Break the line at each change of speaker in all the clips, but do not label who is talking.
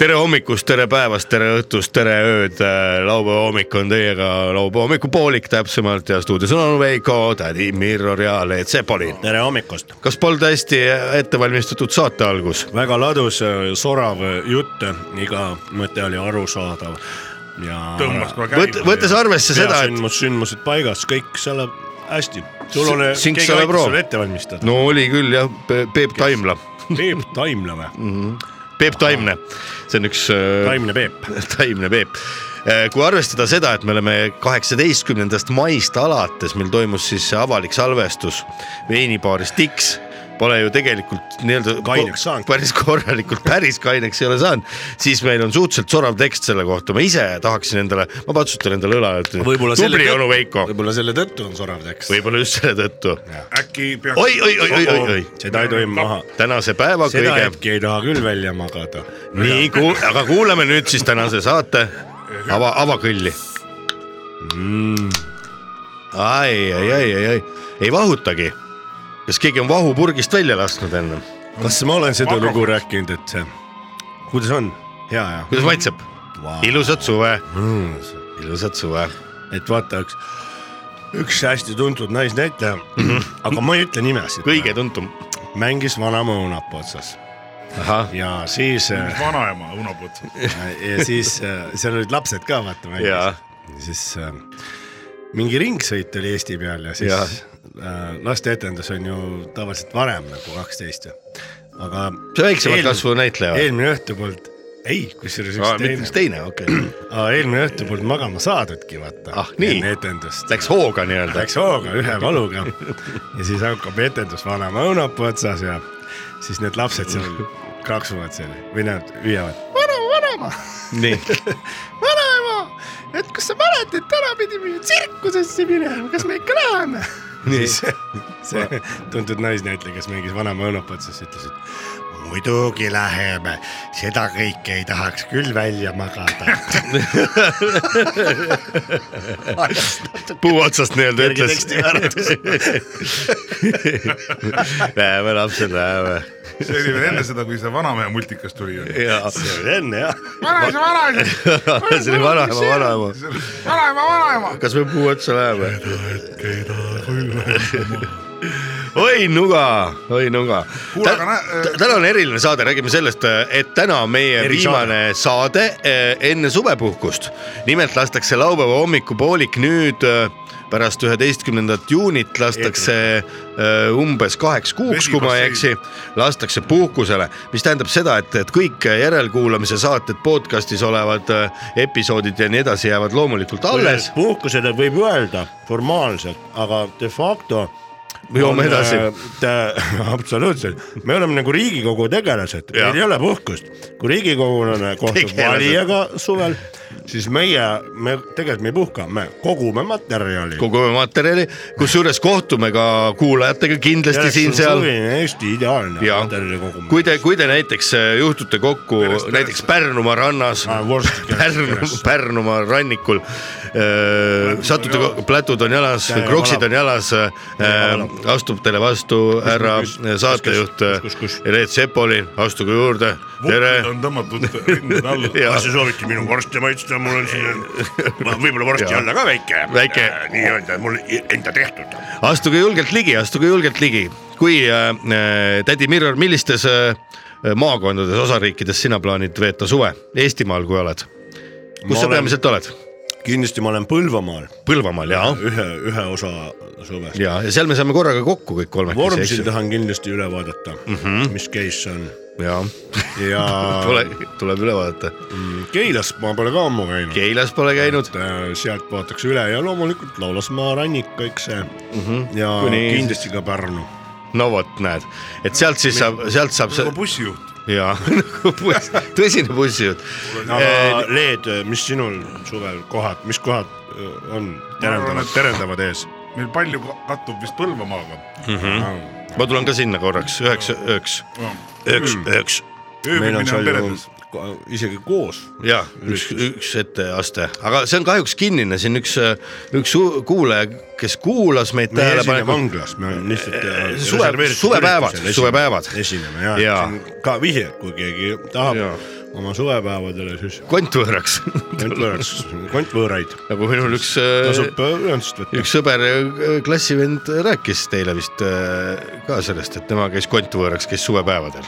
tere hommikust , tere päevast , tere õhtust , tere ööd . laupäeva hommik on teiega , laupäeva hommikupoolik täpsemalt ja stuudios on Anu Veiko , tädi Mirror ja Leet Sepolin .
tere hommikust .
kas polnud hästi ettevalmistatud saate algus ?
väga ladus , sorav jutt , iga mõte oli arusaadav ja .
tõmbas kohe
Võt- ,
käima .
võttes arvesse seda , et
peasündmus , sündmused paigas , kõik saab hästi . sul on ,
Sing-
keegi
Sing-
aitas
Pro.
sulle ette valmistada .
no oli küll jah , Peep Taimla ,
Peep Taimla või ?
Peep Taimne , see on üks äh,
Taimne Peep .
taimne Peep . kui arvestada seda , et me oleme kaheksateistkümnendast maist alates , meil toimus siis see avalik salvestus veinibaaris Dix , pole ju tegelikult nii-öelda
Kaineks saanud.
päris korralikult , päris kaineks ei ole saanud , siis meil on suhteliselt sorav tekst selle kohta , ma ise tahaksin endale , ma patsutan endale õlale , et tubli onu Veiko ,
võib-olla selle tõttu on sorav tekst .
võib-olla just selle tõttu .
äkki peaks .
oi , oi , oi , oi , oi , oi ,
seda ei tohi maha .
tänase päeva
Oh, seda
kõige ,
hetki ei taha küll välja magada .
nii kuul- , aga kuulame nüüd siis tänase saate ava , avakõlli
mm. .
ai , ai , ai , ai , ai , ei vahutagi . kas keegi on vahu purgist välja lasknud ennem ?
kas ma olen seda
Makro-
lugu rääkinud , et see , kuidas on ? hea ja
kuidas maitseb ?
wow.
ilusat suve ,
mm.
Ah. ilusat suve .
et vaata üks , üks hästi tuntud naisnäitleja , aga ma ei ütle nimesid .
kõige . tuntum .
mängis vanaema õunapuu otsas
ahah ,
ja siis ,
vanaema õunapuud .
ja siis äh, seal olid lapsed ka vaata
Jaa.
mängis . siis äh, mingi ringsõit oli Eesti peal ja siis
Jaa.
äh, lasteetendus on ju tavaliselt varem nagu kaksteist ju , aga .
see väiksema kasvu näitleja või ?
eelmine õhtu poolt , ei , kusjuures üks teine
üks . teine , okei okay. .
Aa, eelmine õhtu polnud magama saadudki , vaata .
Ah, nii.
enne etendust .
Läks hooga nii-öelda .
Läks hooga ühe valuga ja siis hakkab etendus vanaema õunapuu otsas ja siis need lapsed seal kraksuvad seal või nad hüüavad . vanaema , vanaema ,
nii ,
vanaema , et kas sa mäletad , täna pidime ju tsirkusesse minema , kas me ikka läheme ? siis see tuntud naisnäitleja , kes mängis vanaema õunapuu otsas , ütles , et muidugi läheme , seda kõike ei tahaks küll välja magada
puu otsast nii-öelda
Kerge
ütles . Läheme lapsed , läheme .
see oli veel enne seda , kui see vanamehe multikas tuli .
jaa ,
see oli enne jah .
vanaisa , vanaisa ,
see oli vanaema , vanaema .
vanaema , vanaema .
kas me puu otsa läheme ? oi nuga , oi nuga
Kuule, aga nä- . äh,
täna on eriline saade , räägime sellest , et täna on meie
Erisaade.
viimane saade eh, enne suvepuhkust . nimelt lastakse laupäeva hommikupoolik nüüd eh, pärast üheteistkümnendat juunit lastakse eh, umbes kaheks kuuks , kui ma ei eksi , lastakse puhkusele , mis tähendab seda , et , et kõik järelkuulamise saated podcast'is olevad eh, episoodid ja nii edasi jäävad loomulikult alles .
puhkusele võib öelda formaalselt , aga de facto .
Me joome edasi. .
absoluutselt , me oleme nagu Riigikogu tegelased ,
Jah.
meil ei ole puhkust . kui riigikogulane kohtub
Tegelased.
valijaga suvel , siis meie , me tegelikult me ei puhka , me kogume materjali .
kogume materjali , kusjuures kohtume ka kuulajatega kindlasti siin-seal .
Eesti ideaalne
Jaa.
materjali kogumine .
kui te , kui te näiteks äh, juhtute kokku
Perest-
näiteks Pärnumaa rannas
Ah, , vorst-
Pärnu , Pärnumaa rannikul äh, , satute , plätud on jalas
Ja, ja, ,
kroksid
valab.
on jalas äh, , astub teile vastu härra
kus,
saatejuht äh,
kus, kus, kus?
Reet Sepolin , astuge juurde , tere
vukid on tõmmatud rindade alla .
Jaa. Kas te
soovite minu vorste maitsta , mul on siin võib-olla vorsti
Jaa. alla
ka väike, äh,
Väike.
nii-öelda mul enda tehtud
astuge julgelt ligi , astuge julgelt ligi . kui äh, äh, tädi Mirror , millistes äh, maakondades , osariikides sina plaanid veeta suve Eestimaal , kui oled ? kus
Ma
sa
olen-
peamiselt oled ?
kindlasti ma olen Põlvamaal
Põlvamaal ja ,
ühe , ühe osa suvest .
ja , ja seal me saame korraga kokku kõik kolmekesi , eks
Vormsil
ju . Mhm.
tahan kindlasti üle vaadata mm , -hmm. mis case see on
ja ,
ja
tule , tuleb üle vaadata .
Keilas ma pole ka ammu käinud .
Keilas pole käinud ,
sealt vaataks üle ja loomulikult Laulasmaa rannik , kõik see mm -hmm. ja
Kuni-
Kuni... kindlasti ka Pärnu .
no vot , näed , et sealt siis saab , sealt saab see
nagu bussijuht .
ja nagu buss , tõsine bussijuht .
aga Leed , mis sinul suvel kohad , mis kohad öö, on terendavad , terendavad ees
meil palju ka- kattub vist Põlvamaaga .
mm ?
ma tulen ka sinna korraks , üheks , üheks , üheks , üheks
meil on
ööbimine on
seal ju
peredes .
ko- isegi koos
ja üks , üks etteaste , aga see on kahjuks kinnine , siin üks , üks u- kuulaja , kes kuulas meid
me ei esine
tähelepanelikult .
vanglas , me lihtsalt äh,
eh, suve- suvepäevad, suvepäevad.
esineme ja,
Jaa.
ja. ka vihjed , kui keegi tahab
Jaa.
ja. oma suvepäevadele siis
kontvõõraks ,
kontvõõraks , kontvõõraid
nagu minul üks ,
tasub äh, ühendust võtta .
üks sõber , klassivend rääkis teile vist äh, ka sellest , et tema käis kontvõõraks , käis suvepäevadel .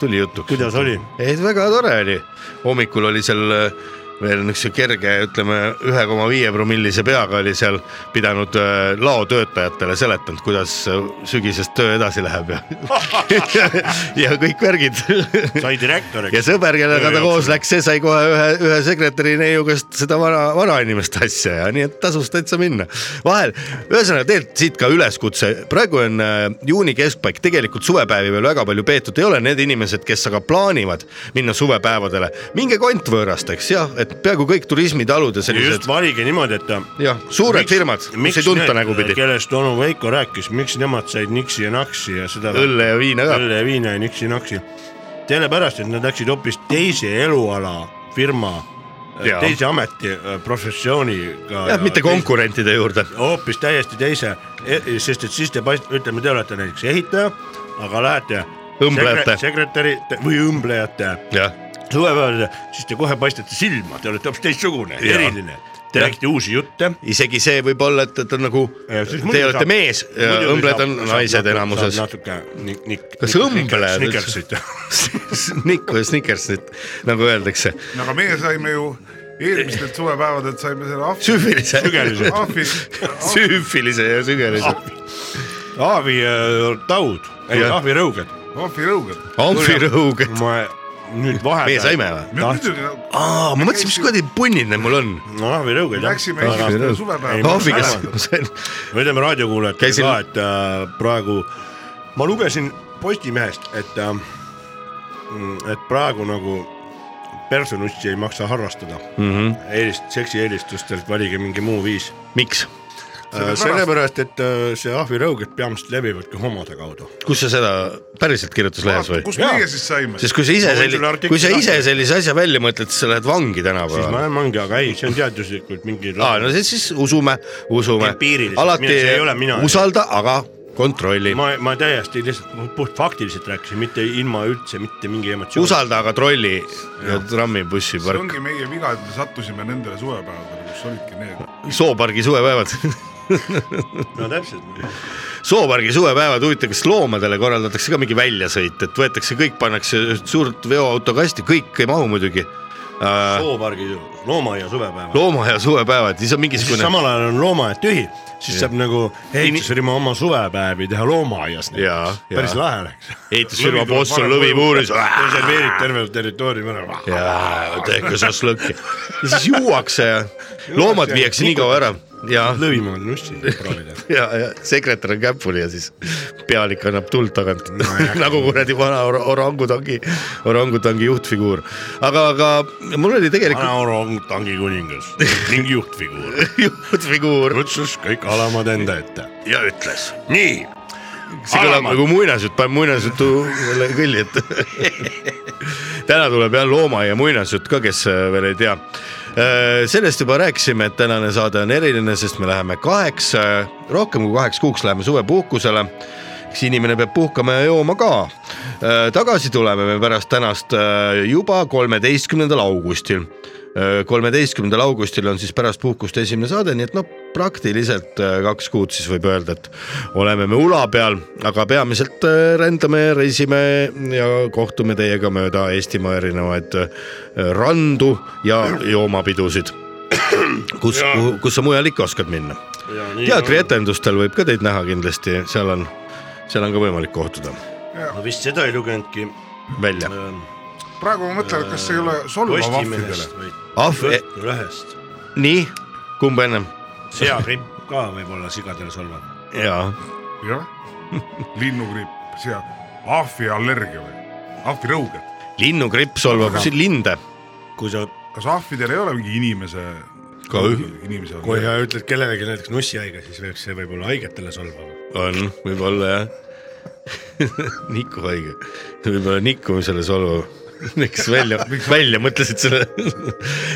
tuli jutuks .
Hmm. kuidas oli ?
ei , väga tore oli , hommikul oli seal äh, veel niisuguse kerge , ütleme ühe koma viie promillise peaga oli seal pidanud äh, laotöötajatele seletanud , kuidas äh, sügisest töö edasi läheb ja ja, ja kõik värgid
sai direktoriks
ja . sõber , kellega ta koos läks , see sai kohe ühe , ühe sekretäri neiu käest seda vana , vanainimest asja ja nii et tasus täitsa minna . vahel , ühesõnaga tegelikult siit ka üleskutse , praegu on äh, juuni keskpaik , tegelikult suvepäevi veel väga palju peetud ei ole , need inimesed , kes aga plaanivad minna suvepäevadele , minge kontvõõrasteks jah , et peaaegu kõik turismitalud ja
just
sellised
valige niimoodi , et ta
jah , suured miks, firmad , kus ei tunta nagu nägupidi ,
kellest onu Veiko rääkis , miks nemad said niksi ja naksi ja seda
õlle ja viina ka .
õlle ja viina ja niksi-naksi . sellepärast , et nad läksid hoopis teise eluala firma ,
Jaa.
teise ameti äh, professiooniga .
jah , mitte . konkurentide juurde .
hoopis täiesti teise , sest et siis te paist- , ütleme , te olete näiteks ehitaja , aga lähete .
Õmblejate.
sekretäri või õmblejate
jah ,
suvepäevadele , siis te kohe paistate silma , te olete hoopis teistsugune ,
Jaa.
eriline . Te
Jah.
räägite uusi jutte
isegi see võib olla , et , et on nagu ,
Ja siis
teie
muidugi
olete
saab-
mees ,
Muidugi
õmbled
saab-
on
saab
naised
natuke-
enamuses
saab . natuke nik- , nik- .
Kas õmblejad üldse?
Snickersit .
Sniku ja Snickersit , nagu öeldakse ,
no aga meie saime ju eelmistelt suvepäevadelt saime selle ahvi .
süüfilise ,
Sügelise.
ahvi ,
süüfilise ja sügelise ,
Aavi äh, taud , ei
Jah.
Aavi rõuged .
ahvirõuged .
amfirõuge .
ma nüüd vahepeal .
meie saime või ?
muidugi ,
aa , ma mõtlesin , mis kuradi punnid need mul on .
no Aavi rõuged jah .
läksime esimesele
Ei, ma-
suvepäevale .
ahviga
ära.
sain ,
me ütleme raadiokuulajatele
Käisin-
Käisin... ka , et äh, praegu ma lugesin Postimehest , et äh, , et praegu nagu personussi ei maksa harrastada mm
Mhm.
-hmm. . eelist , seksieelistustelt valige mingi muu viis .
miks ,
Sellepärast-
sellepärast , et äh, see ahvirõuged peamiselt levivadki homode kaudu .
kus sa seda päriselt kirjutas lehes või ?
kus
Jaa.
meie siis saime ?
sest kui sa ise
Ma võin sulle
selli- ,
artikli
kui sa ise
saata.
sellise asja välja mõtled , siis sa lähed vangi
siis ma
tänapäeval .
olen mangi , aga ei , see on teaduslikult mingi .
aa , no siis , siis usume , usume
Empiiriliselt, .
alati
mina- see ei ole mina.
usalda , aga kontrolli .
ma , ma täiesti lihtsalt puht faktiliselt rääkisin , mitte ilma üldse mitte mingi emotsiooni .
usalda , aga trolli trammi , bussi ,
see
park ,
ongi meie viga , et me sattusime nendele suvepäevadele , kus olidki need .
soopargi suvepäevad
no täpselt .
Äh. soopargi suvepäevad , huvitav , kas loomadele korraldatakse ka mingi väljasõit , et võetakse kõik , pannakse üht suurt veoautokasti , kõik ei mahu muidugi .
soopargi loomaaia suvepäeval .
loomaaia suvepäevad , siis on
siis
mingisugune
samal ajal on loomaaed tühi , siis saab nagu ehitusfirma oma suvepäevi teha loomaaias
Jaa,
näiteks .
jaa.
päris lahe oleks .
ehitusfirma boss on lõvipuuris .
reserveerid terve territooriumi ära .
ja tehke šašlõkki ja siis juuakse ja loomad viiakse nii kaua ära ja ,
lõvimaad nussi proovida .
ja , ja sekretär on käpuli ja siis pealik annab tuld tagant nagu kuradi vana or- orangutangi , orangutangi juhtfiguur . aga , aga mul oli tegelikult
vana orangutangi kuningas ning juhtfiguur
juhtfiguur
kutsus kõik alamad enda ette .
ja ütles
nii ,
see kõlab
Alamad.
nagu muinasjutt , paneme muinasjutu selle külje ette . täna tuleb jah loomaaia muinasjutt ka , kes äh, veel ei tea . sellest juba rääkisime , et tänane saade on eriline , sest me läheme kaheks , rohkem kui kaheks kuuks läheme suvepuhkusele eks inimene peab puhkama ja jooma ka . tagasi tuleme me pärast tänast äh, juba kolmeteistkümnendal augustil . kolmeteistkümnendal augustil on siis pärast puhkust esimene saade , nii et noh , praktiliselt äh, kaks kuud siis võib öelda , et oleme me ula peal , aga peamiselt äh, rändame , reisime ja kohtume teiega mööda Eestimaa erinevaid äh, randu ja joomapidusid . kus , kus sa mujal ikka oskad minna . teatrietendustel võib ka teid näha kindlasti , seal on , seal on ka võimalik kohtuda
ma vist seda ei lugenudki .
välja .
praegu ma mõtlen , et kas see ei ole solvav ahvidele .
Postimehest või
ahv ,
Õhtulehest .
nii , kumb ennem ?
seagripp ka võib-olla sigadele solvab .
jaa ,
jah , linnugripp , see ahviallergia või , ahvirõuged .
linnugripp solvab siin linde .
kui sa
kas ahvidel ei ole mingi inimese ?
Ka üh-
inimese .
kui sa ütled kellelegi näiteks nussihaige , siis võib see võib-olla haigetele solvama .
on , võib-olla jah . Niku haige , võib-olla nikumisele solvav . miks välja , välja mõtlesid selle ?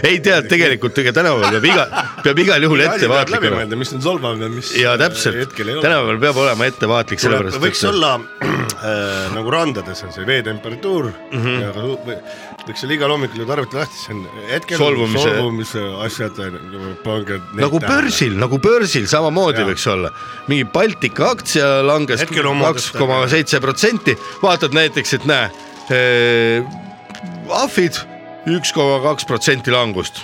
ei tea , tegelikult ega tänaval peab iga , peab igal juhul ettevaatlik
läbi
olema .
mõelda , mis on solvav ja mis
ja
äh,
täpselt ,
hetkel ei ole .
tänapäeval peab olema ettevaatlik ,
tuleb
sellepärast ,
võiks olla äh, nagu randades on see veetemperatuur mm ,
Mhm.
-hmm. aga su- või- võiks seal igal hommikul nüüd arvuti lahti , siis on hetkel
Solvumise-
solvumise asjad , pange .
nagu . börsil , nagu börsil samamoodi
Jaa.
võiks olla . mingi Baltika aktsia langes
Hetkel on
kaks
moodustanud.
koma seitse protsenti , vaatad näiteks , et näe äh, , ahvid üks koma kaks protsenti langust .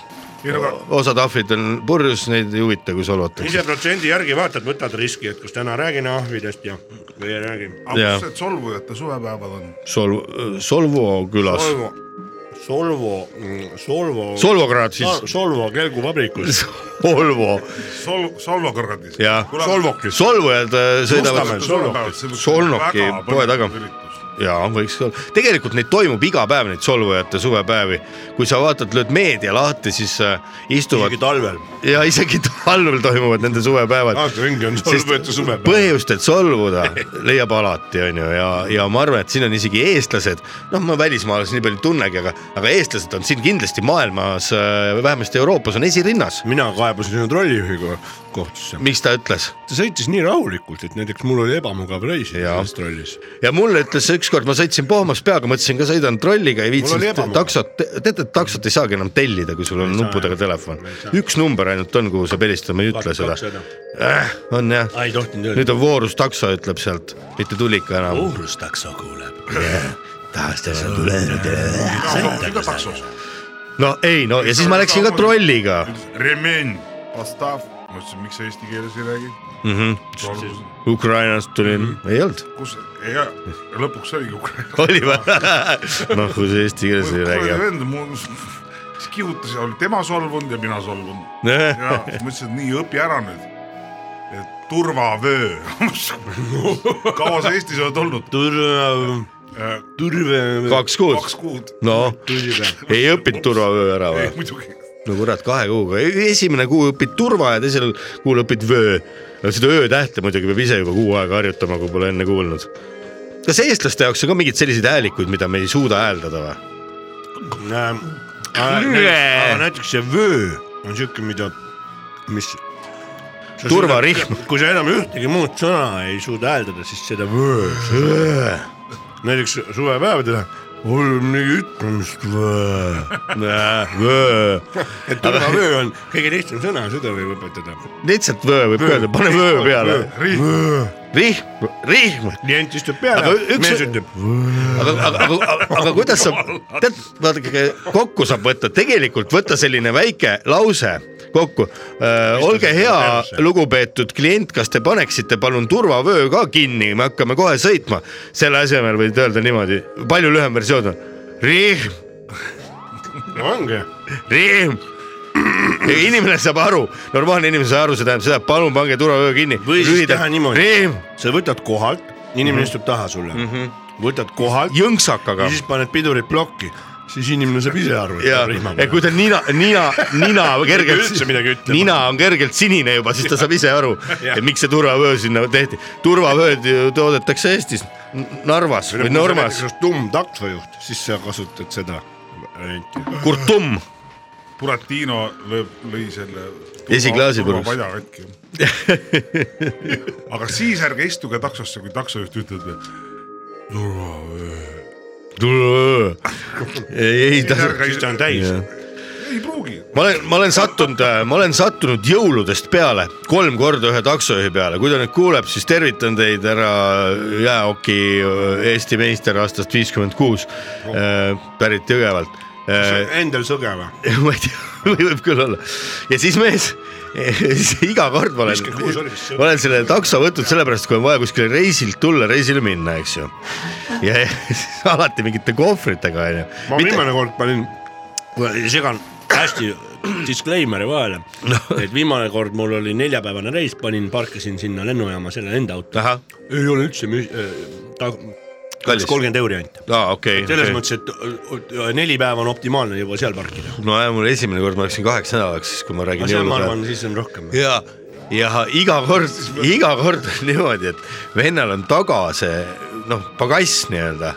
ei no aga
osad ahvid on purjus , neid ei huvita , kui solvatakse .
ise protsendi järgi vaatad , võtad riski , et kas täna räägin ahvidest ja või ei räägi .
aga
Jaa.
kus need solvujate suvepäevad on ?
Solvo , Solvo külas .
Solvo , Solvo , Solvo .
Solvograd siis .
Solvo kelguvabrikus .
Solvo ,
Sol- , solvakõrgadis .
jah .
Solvokis .
solvujad äh, sõidavad Solnoki poe taga. jaa , võiks ka olla , tegelikult neid toimub iga päev , neid solvujate suvepäevi , kui sa vaatad , lööd meedia lahti , siis äh, istuvad
isegi talvel .
ja isegi talvel toimuvad nende suvepäevad .
ringi on solvujate suvepäev .
põhjust , et solvuda , leiab alati , onju , ja , ja ma arvan , et siin on isegi eestlased , noh , ma välismaalasi nii palju ei tunnegi , aga , aga eestlased on siin kindlasti maailmas , vähemasti Euroopas on esirinnas .
mina kaebasin sinna trollijuhi ko- kohtusse ,
miks ta ütles ?
ta sõitis nii rahulikult , et näiteks mul oli ebamugav reis
Jaa.
selles trollis .
ja mulle ütles see ükskord , ma sõitsin pohmas peaga , mõtlesin ka sõidan trolliga , ei
oli
viitsinud
ebamugav.
taksot , tead , et taksot ei saagi enam tellida , kui sul on nuppudega telefon . üks number ainult on , kuhu saab helistada , ma ei ütle seda . äh, . on jah ,
ei tohtinud öelda .
nüüd on voorus takso , ütleb sealt , mitte tulika enam .
Uh.
Uurus takso kuuleb .
tahad sa tulla ?
sõita taksos .
no ei no ja siis ma läksin ka trolliga
Remen , Ostav , ma ütlesin , miks sa eesti keeles ei räägi ?
mm . -hmm. Ukrainast tulin , Mm. ei olnud ,
kus , ja lõpuks oligi Ukraina .
oli või ? noh , kui sa eesti keeles ei räägi .
vend , mul , siis kihutas , oli tema solvunud ja mina solvunud .
Äh,
ja mõtlesin , et nii , õpi ära nüüd . et turvavöö . kaua sa Eestis oled olnud ?
turve , turve ,
kaks kuud ,
kaks kuud .
noh ,
turve .
ei õppinud turvavöö ära või ?
muidugi .
no kurat , kahe kuuga , esimene kuu õpid turva ja teisel kuul õpid vöö . seda öötähte muidugi peab ise juba kuu aega harjutama , kui pole enne kuulnud . kas eestlaste jaoks on ka mingeid selliseid häälikuid , mida me ei suuda hääldada või ?
aga näiteks see vöö on siuke , mida , mis .
Turvarihm. .
kui sa enam ühtegi muud sõna ei suuda hääldada , siis seda vöö . näiteks suvepäevadel mul on mingi ütlemist vöö .
vöö ,
et turvavöö on kõige lihtsam sõna , seda võib õpetada .
lihtsalt vöö võib öelda , pane vöö peale . rihm , rihm
klient istub
Aga
peale ,
üks-
mees ütleb vöö .
aga , aga , aga , aga kuidas sa , tead , vaadake , kokku saab võtta , tegelikult võtta selline väike lause kokku . olge hea , lugupeetud klient , kas te paneksite palun turvavöö ka kinni , me hakkame kohe sõitma . selle asemel võid öelda niimoodi , palju lühem versioon on . rihm ,
ongi ,
rihm . inimene saab aru , normaalne inimene saab aru , see tähendab seda , et palun pange turvavöö kinni .
Või siis teha niimoodi.
rihm ,
sa võtad kohalt , inimene istub taha sulle ,
Mhm.
võtad kohalt ja
jõnksakaga
siis paned pidurid plokki , siis inimene saab ise aru , et
ja
ta rihmab
ja . kui ta nina , nina , nina kergelt
üldse midagi ütlema.
nina on kergelt sinine juba , siis ta saab ise aru ,
Jah.
et miks see turvavöö sinna tehti . turvavööd ju toodetakse Eestis , Narvas või Normas ,
tumm taksojuht , siis sa kasutad seda varianti .
Kurtum .
Buratino lööb , lõi selle .
Esiklaasi purus.
padja katki . aga siis ärge istuge taksosse , kui taksojuht ütleb , et
turvavöö , ei , ei ta
ärge
siis ta on täis .
ei pruugi .
ma olen , ma olen sattunud , ma olen sattunud jõuludest peale kolm korda ühe taksojuhi peale , kui ta nüüd kuuleb , siis tervitan teid , härra jäähoki Eesti meister aastast viiskümmend kuus , pärit Jõgevalt . Äh,
Endel Sõge või ?
ma ei tea , võib küll olla . ja siis mees iga kord ma olen ,
kuus oli vist see.
ma olen selle takso võtnud sellepärast , kui on vaja kuskile reisilt tulla , reisile minna , eks ju . ja ja siis alati mingite kohvritega onju .
ma viimane kord panin , segan hästi disclaimer'i vahele no. , et viimane kord mul oli neljapäevane reis , panin , parkisin sinna lennujaama selle enda auto .
ahah ,
ei ole üldse müü- , ta ,
Kallis.
kolmkümmend euri anti .
aa okei
selles
okay. .
mõttes , et äh, äh, neli päeva on optimaalne juba seal parkida .
nojah , mul esimene kord ma läksin kaheks nädalaks , siis kui ma
aga
räägin
seal ma
jõulupäeval .
arvan , siis on rohkem .
ja , ja iga kord , iga kord on niimoodi , et vennal on taga see noh , pagass nii-öelda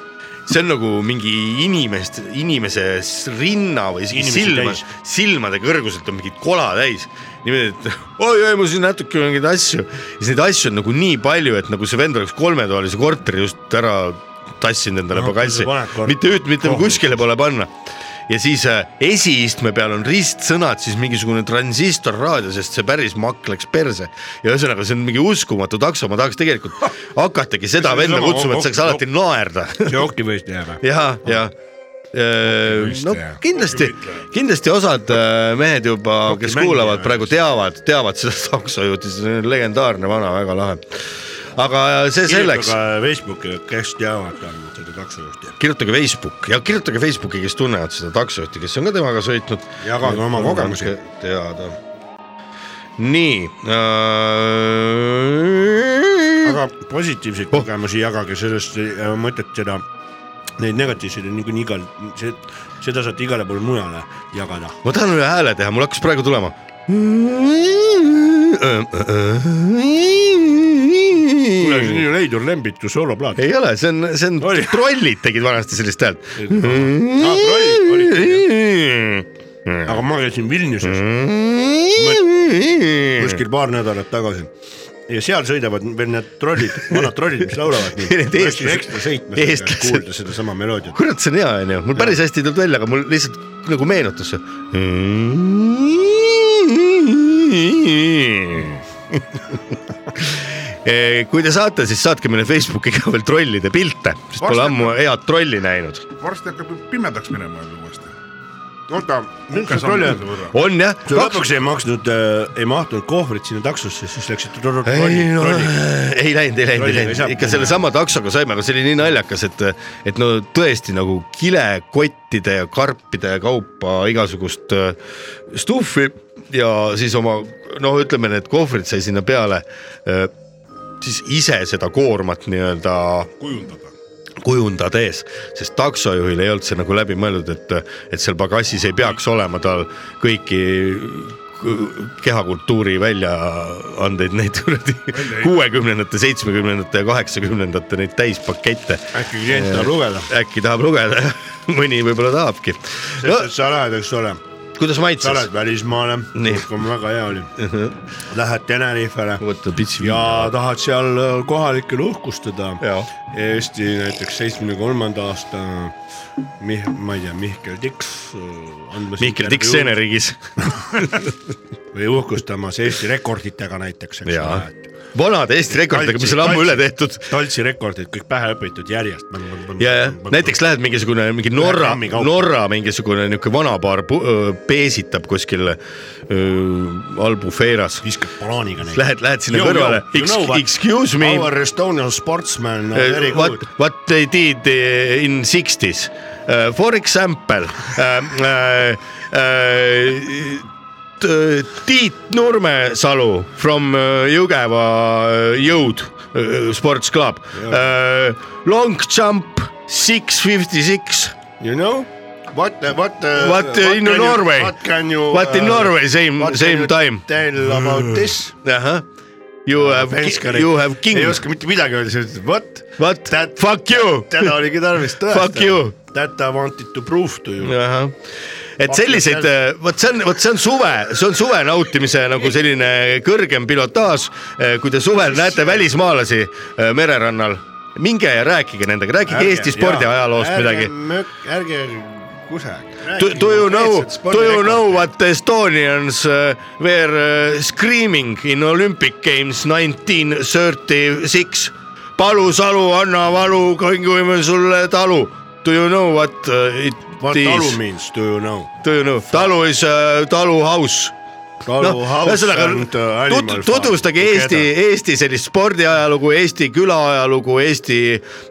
see on nagu mingi inimest , inimese s- rinna või isegi
Inimesi
silma
täis. ,
silmade kõrguselt on mingid kola täis . niimoodi , et oi-oi , mul siin natuke mingeid asju , siis neid asju on nagu nii palju , et nagu see vend oleks kolmetoalise korteri just ära tassinud endale
No,
pagassi
kui sa Noh, paned korteri-
mitte üht , mitte
kohvi.
kuskile pole panna . ja siis äh, esiistme peal on ristsõnad , siis mingisugune transistorraadio , sest see päris makk läks perse . ja ühesõnaga , see on mingi uskumatu takso , ma tahaks tegelikult hakatagi seda
See on
venda
sama-
kutsuma , et saaks alati naerda .
jooki võis teha või ?
ja , ja Äh, no kindlasti , kindlasti osad äh, mehed juba , kes
mängija
kuulavad
või?
praegu teavad , teavad seda taksojuhti , see on legendaarne vana , väga lahe . aga äh, see selleks .
kirjutage Facebooki , kes teavad tähendab seda taksojuhti .
kirjutage Facebook ja kirjutage Facebooki , kes tunnevad seda taksojuhti , kes on ka temaga sõitnud .
Jagage oma kogemusi. .
teada . nii äh... .
aga positiivseid
Oh.
kogemusi jagage , sellest ei- äh, mõtet seda , neid negatiivseid on niikuinii igal , see , seda saate igale poole mujale jagada .
ma tahan ühe hääle teha , mul hakkas praegu tulema .
kuule , see on ju Leidur Lembitu sooloplaat .
ei ole , see on , see on ,
Oli.
trollid tegid vanasti sellist häält .
trollid olid. aga ma käisin Vilniuses kuskil paar nädalat tagasi ja seal sõidavad veel need trollid , vanad trollid , mis laulavad nii .
Need eestlased-
ekstra sõitma seda , et
eestlased.
kuulda sedasama meloodiat .
kurat , see on hea , onju , mul päris hästi ei tulnud välja , aga mul lihtsalt nagu meenutas see . Eh, kui te saate , siis saatke meile Facebooki ka veel trollide pilte , sest pole ammu head trolli näinud .
varsti hakkab ju pimedaks minema jälle uuesti .
oota , mis see troll on ?
võrra .
on jah ?
sa lõpuks ei maksnud , ei mahtunud kohvrit sinna taksosse , siis läksid tro- tro-
ei
trolli ,
no ,
trolliga .
ei läinud , ei läinud , ei
Trolliga ei saa
läinud , ikka
puhuda.
sellesama taksoga saime , aga see oli nii naljakas , et , et no tõesti nagu kilekottide ja karpide kaupa igasugust äh, stuff'i ja siis oma noh , ütleme need kohvrid sai sinna peale äh, siis ise seda koormat nii-öelda
kujundada .
kujundades , sest taksojuhil ei olnud see nagu läbi mõeldud , et , et seal pagassis ei peaks olema tal kõiki k- kehakultuuri väljaandeid , neid kuradi
Välja ei-
kuuekümnendate , seitsmekümnendate ja kaheksakümnendate neid täispakette .
äkki klient tahab lugeda ?
äkki tahab lugeda , mõni võib-olla tahabki . no
sest et sa lähed , eks ole ,
kuidas
sa lähed
maitses ?
välismaale ,
Nii. Mhm.
kus on väga hea oli , lähed Tenerifele
võta pitsi .
ja tahad seal äh, kohalikel uhkustada .
Jah.
Eesti näiteks seitsmekümne kolmanda aasta Mih- , ma ei tea , Mihkel äh, Tiks .
Mihkel Tiks . seeneriigis .
või uhkustamas Eesti rekorditega näiteks , eks
Jaa.
ole .
vanad Eesti rekordid , mis on ammu üle tehtud .
Taltsi rekordid kõik pähe õpitud järjest .
ja , ja näiteks . lähed mingisugune mingi Norra
grammi , kaupa.
Norra mingisugune niuke vanapaar pu- öö, peesitab kuskil öö, Albufeiras .
viskad banaaniga neid .
Lähed , lähed sinna kõrvale , excuse me ,
Our Estonian sportsman on very
what
good .,
what they did eh, in sixties uh, , for example uh, uh, uh, t- Tiit Nurmesalu from uh, Jõgeva uh, jõud uh, sports club uh, , long jump six fifty six
You know what , what .
What, uh, in Norway?
What can you . uh,
What in Norway same- same time?
Tell about this .
ahah , you
Ah,
have , you have king
ei , oska mitte midagi öelda , sa ütled what ,
what
that-
fuck you .
täna oligi tarvis
Fuck you.
tõestada . That I wanted to prove to you .
Ahah. Uh-huh. et selliseid , vot see on , vot see on suve , see on suve nautimise nagu selline kõrgem pilotaaž . kui te suvel näete välismaalasi eh, mererannal , minge ja rääkige nendega , rääkige Eesti spordiajaloost midagi .
ärge kusagil .
Do do you know , do you know ? what Estonians uh, were uh, screaming in Olympic Games nineteen thirty six ? palu , salu , anna valu , kõngime sulle talu . Do you know what uh, it
What
is
talu ? means , do you know ?
Do you know ? talu is uh, talu house
talu
noh ,
house
ühesõnaga
and uh,
tut-
animal .
tutvustage Eesti , Eesti sellist spordiajalugu , Eesti külaajalugu , Eesti ,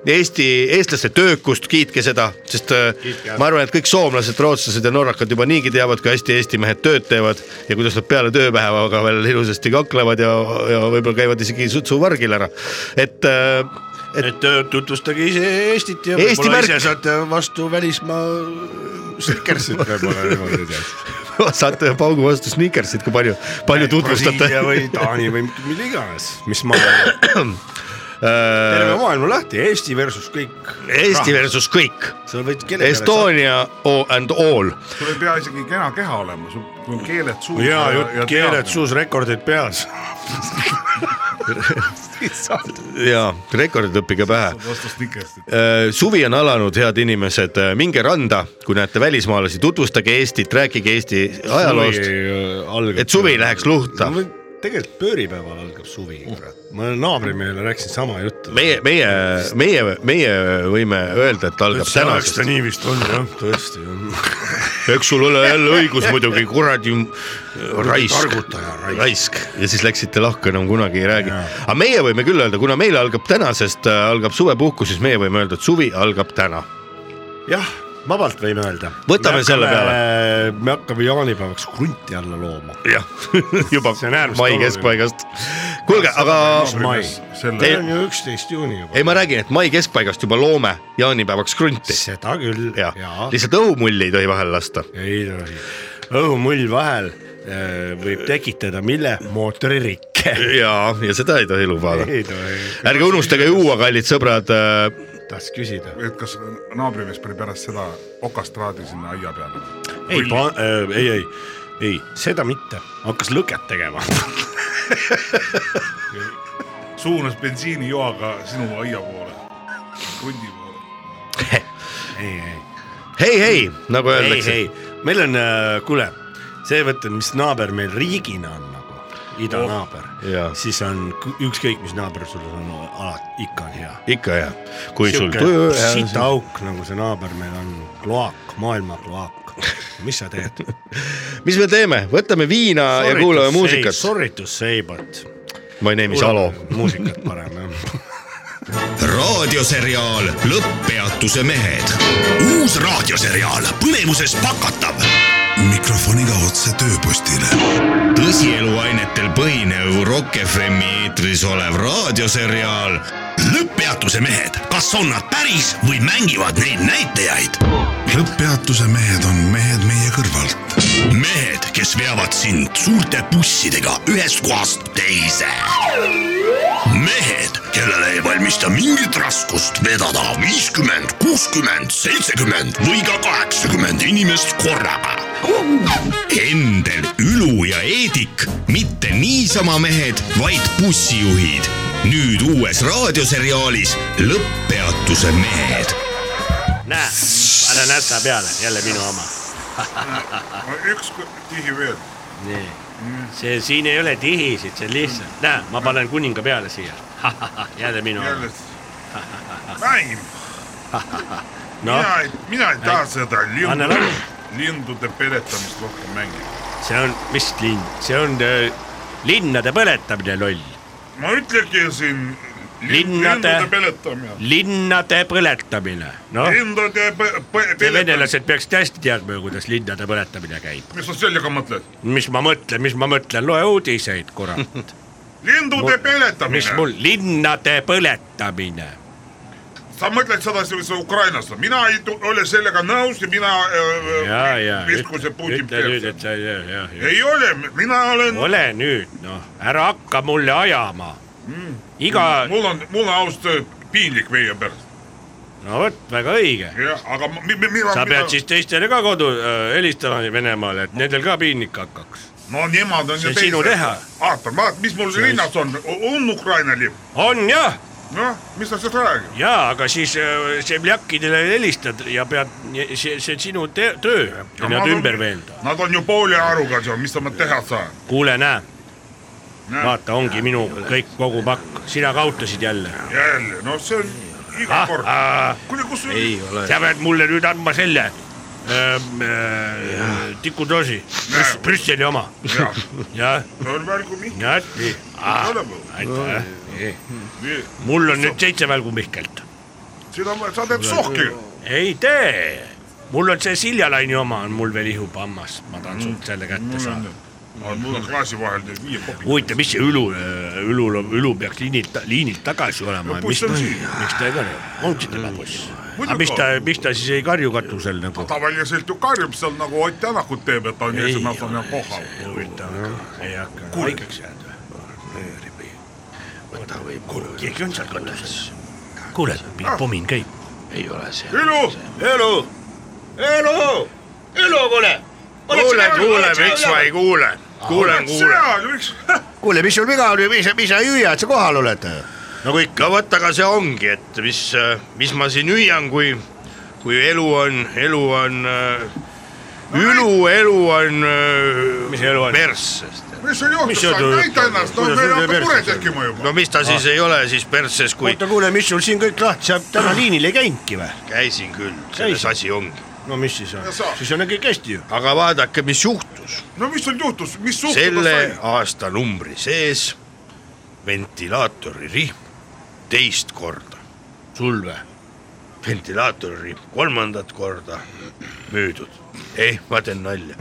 Eesti , eestlaste töökust , kiitke seda , sest äh,
Kiitke ära.
ma arvan , et kõik soomlased , rootslased ja norrakad juba niigi teavad , kui hästi Eesti mehed tööd teevad ja kuidas nad peale tööpäevaga veel ilusasti kaklevad ja , ja võib-olla käivad isegi sutsu vargil ära , et äh, et
et äh, tutvustage ise Eestit ja
Eesti
võib-olla
märk-
ise saate vastu välismaa stikersid võib-olla niimoodi tead .
saate ühe paugu vastu sneakersid , kui palju , palju tutvustate .
või Taani või mille iganes , mis maa .
terve
terve maailma lahti , Eesti versus kõik .
Äh, Eesti . versus kõik ,
sa võid kelle
Estonia o- and all .
sul ei pea isegi kena keha olema , sul sul on keeled suus .
ja jutt , keeled . suus , rekordid peas .
ja rekordid õppige pähe .
vastas Nikest , et
suvi on alanud , head inimesed , minge randa , kui näete välismaalasi , tutvustage Eestit , rääkige Eesti ajaloost ,
äh, algab .
et suvi läheks luhta .
tegelikult pööripäeval algab suvi , kurat . ma naabrimehele rääkisin sama juttu .
meie , meie , meie , meie võime öelda , et algab
tänaseks
tänasest .
ta nii vist on jah , tõesti jah .
eks sul ole jälle õigus muidugi , kuradi raisk
targutaja raisk.
raisk ja siis läksite lahku , enam kunagi ei räägi . aga meie võime küll öelda , kuna meil algab tänasest , algab suvepuhkus , siis meie võime öelda , et suvi algab täna .
jah , vabalt võime öelda .
Võtame selle peale. .
me hakkame jaanipäevaks krunti alla looma .
jah , juba
See on äärmiselt
mai
oluline.
keskpaigast . kuulge , aga
mai.
selle
Ei-
meil on ju üksteist juuni juba
ei , ma räägin , et mai keskpaigast juba loome jaanipäevaks krunti .
seda küll ,
ja
jaa .
lihtsalt õhumulli ei tohi vahele lasta .
ei tohi , õhumull vahel äh, võib tekitada mille ? mootoririkke .
ja , ja seda ei tohi lubada .
ei tohi ,
ärge unustage juua , kallid sõbrad . Äh,
tahtsin küsida .
et kas naabrimees pani pärast seda okastraadi sinna aia peale ?
ei , äh, ei , ei , ei , seda mitte , hakkas lõket tegema .
suunas bensiinijoaga sinu aia poole , krundi poole .
ei , ei ,
hei , hei , nagu
ei ,
öeldakse .
ei , meil on äh, , kuule , seevõttu , mis naaber meil riigina on nagu , idanaaber
jaa.
oh. , siis on kõ- ükskõik , mis naaber sul on , alati ikka on hea .
ikka hea , kui sul tuju
sihuke sitaauk nagu see naaber meil on , kloak , maailma kloak . mis sa teed ?
mis me teeme , võtame viina ja kuulame muusikat .
sorritusseibad .
My name is Alo .
muusikat parem jah .
raadioseriaal Lõpppeatuse mehed . uus raadioseriaal põnevuses pakatav . mikrofoniga otse tööpostile . tõsieluainetel põhinev Rock FM-i eetris olev raadioseriaal Lõpppeatuse mehed , kas on nad päris või mängivad neid näitajaid ? lõpppeatuse mehed on mehed meie kõrvalt . mehed , kes veavad sind suurte bussidega ühest kohast teise mehed , kellele ei valmista mingit raskust vedada viiskümmend , kuuskümmend , seitsekümmend või ka kaheksakümmend inimest korraga . Endel , Ülu ja Eedik , mitte niisama mehed , vaid bussijuhid . nüüd uues raadioseriaalis Lõpppeatuse mehed .
näe , ära näsa peale , jälle minu oma .
üks kõ- tihi veel ,
nii ,
Mm.
see siin ei ole tihisid , see on lihtsalt , näe , ma panen kuninga peale siia . jälle minu oma .
jälle . näin ,
noh ,
mina ei , mina ei taha seda
Anna
lindu
lahti. ,
lindude peletamist rohkem mängida .
see on , mis linn , see on öö, linnade põletamine , loll .
ma ütlengi siin lin-
Linnade-
lindude peletamine ,
linnade põletamine , noh .
lindude pe- pe-
Te
peletamine ,
venelased peaksid hästi teadma ju , kuidas linnade põletamine käib .
mis sa sellega mõtled ?
mis ma mõtlen , mis ma mõtlen , loe uudiseid , kurat .
lindude
mis
peletamine ,
mul , linnade põletamine
sa mõtled sedasi , mis Ukrainas on , mina ei tu- ole sellega nõus ja mina äh,
ja , ja
visku see Putin
ütle nüüd ,
perse .
et sa ja , ja , ja
ei ole , mina olen ,
ole nüüd noh , ära hakka mulle ajama .
Mm.
iga ,
mul on , mul on ausalt öö- piinlik meie pärast ,
no vot , väga õige ,
jah , aga mi- mi- mina .
sa pead siis teistele ka kodu äh, helistama Venemaale , et nendel ka piinlik hakkaks .
no nemad on
See on sinu teha. .
vaata , vaata , mis mul linnas on , on Ukraina lipp ,
on jah ,
noh , mis sa siis räägid ,
ja aga siis äh, Šemljakidele helistad ja pead , see , see on sinu te- töö ,
Ja
nad
ma-
ümber veenda .
nad on ju poole aruga , mis sa ma teha saan .
kuule , näe , vaata , ongi minu kõik kogu pakk , sina kaotasid jälle .
jälle , no see on iga
Ah,
kord
ah. ,
kuule , kus sul
sa pead mulle nüüd andma selle ähm, äh, tikutoosi ,
Näe.
Brüsseli oma ,
jah ,
jah ,
see on välgumihkel
jah , nii ,
olemas ,
aitäh .
nii ,
mul on nüüd seitse välgu Mihkelt .
seda ma , sa teed sohki ,
ei tee , mul on see Siljalaini oma on mul veel ihub hammas , ma
Mm.
tahan sult selle kätte saada .
mul on klaasi vahel teed viie kopi ,
huvitav , mis see Ülu , Ülul , Ülu peaks liinilt , liinilt tagasi olema , mis
No buss
ta
on , siin.
miks ta ei karju , ongi tema buss . aga
Muidugi
mis ta
on. ,
miks ta siis ei karju katusel nagu ?
tavaliselt ju karjub seal nagu Ott Tänakut teeb , et ta on esimene aasta kohal .
huvitav , ei hakka
Kuule.
haigeks jääda või ?
võta võimu .
keegi on seal katuses . kuule ,
Ah.
pomin käib .
ei ole seal .
Ülu ,
elu , elu , elu , kuule .
kuule , kuule , miks ma ei kuule ? kuulen , kuulen .
sina , miks ?
kuule , mis sul viga oli , mis , mis sa hüüad , sa kohal oled ? nagu ikka , vot aga see ongi , et mis , mis ma siin hüüan , kui , kui elu on , elu on äh, , ülu , elu on äh,
Mis elu on?
persses .
mis sul juhtus ,
Mis sa
sa
tujutad?
näita ennast , no
Kuidas
meil
sul
hakkab
perses
mure
on?
tekkima juba
no . mis ta siis ah. ei ole siis persses , kui
oota , kuule , mis sul siin kõik lahti saab , täna liinil ei käinudki või ?
käisin küll , selles
Käisid.
asi ongi .
no mis siis on
No sa- ,
siis on ju kõik hästi ju .
aga vaadake , mis juhtus
no mis sul juhtus , mis suhtuda sai
selle ? aastanumbri sees ventilaatori rihm teist korda ,
sul või ?
ventilaatori rihm kolmandat korda müüdud . ei , ma teen nalja .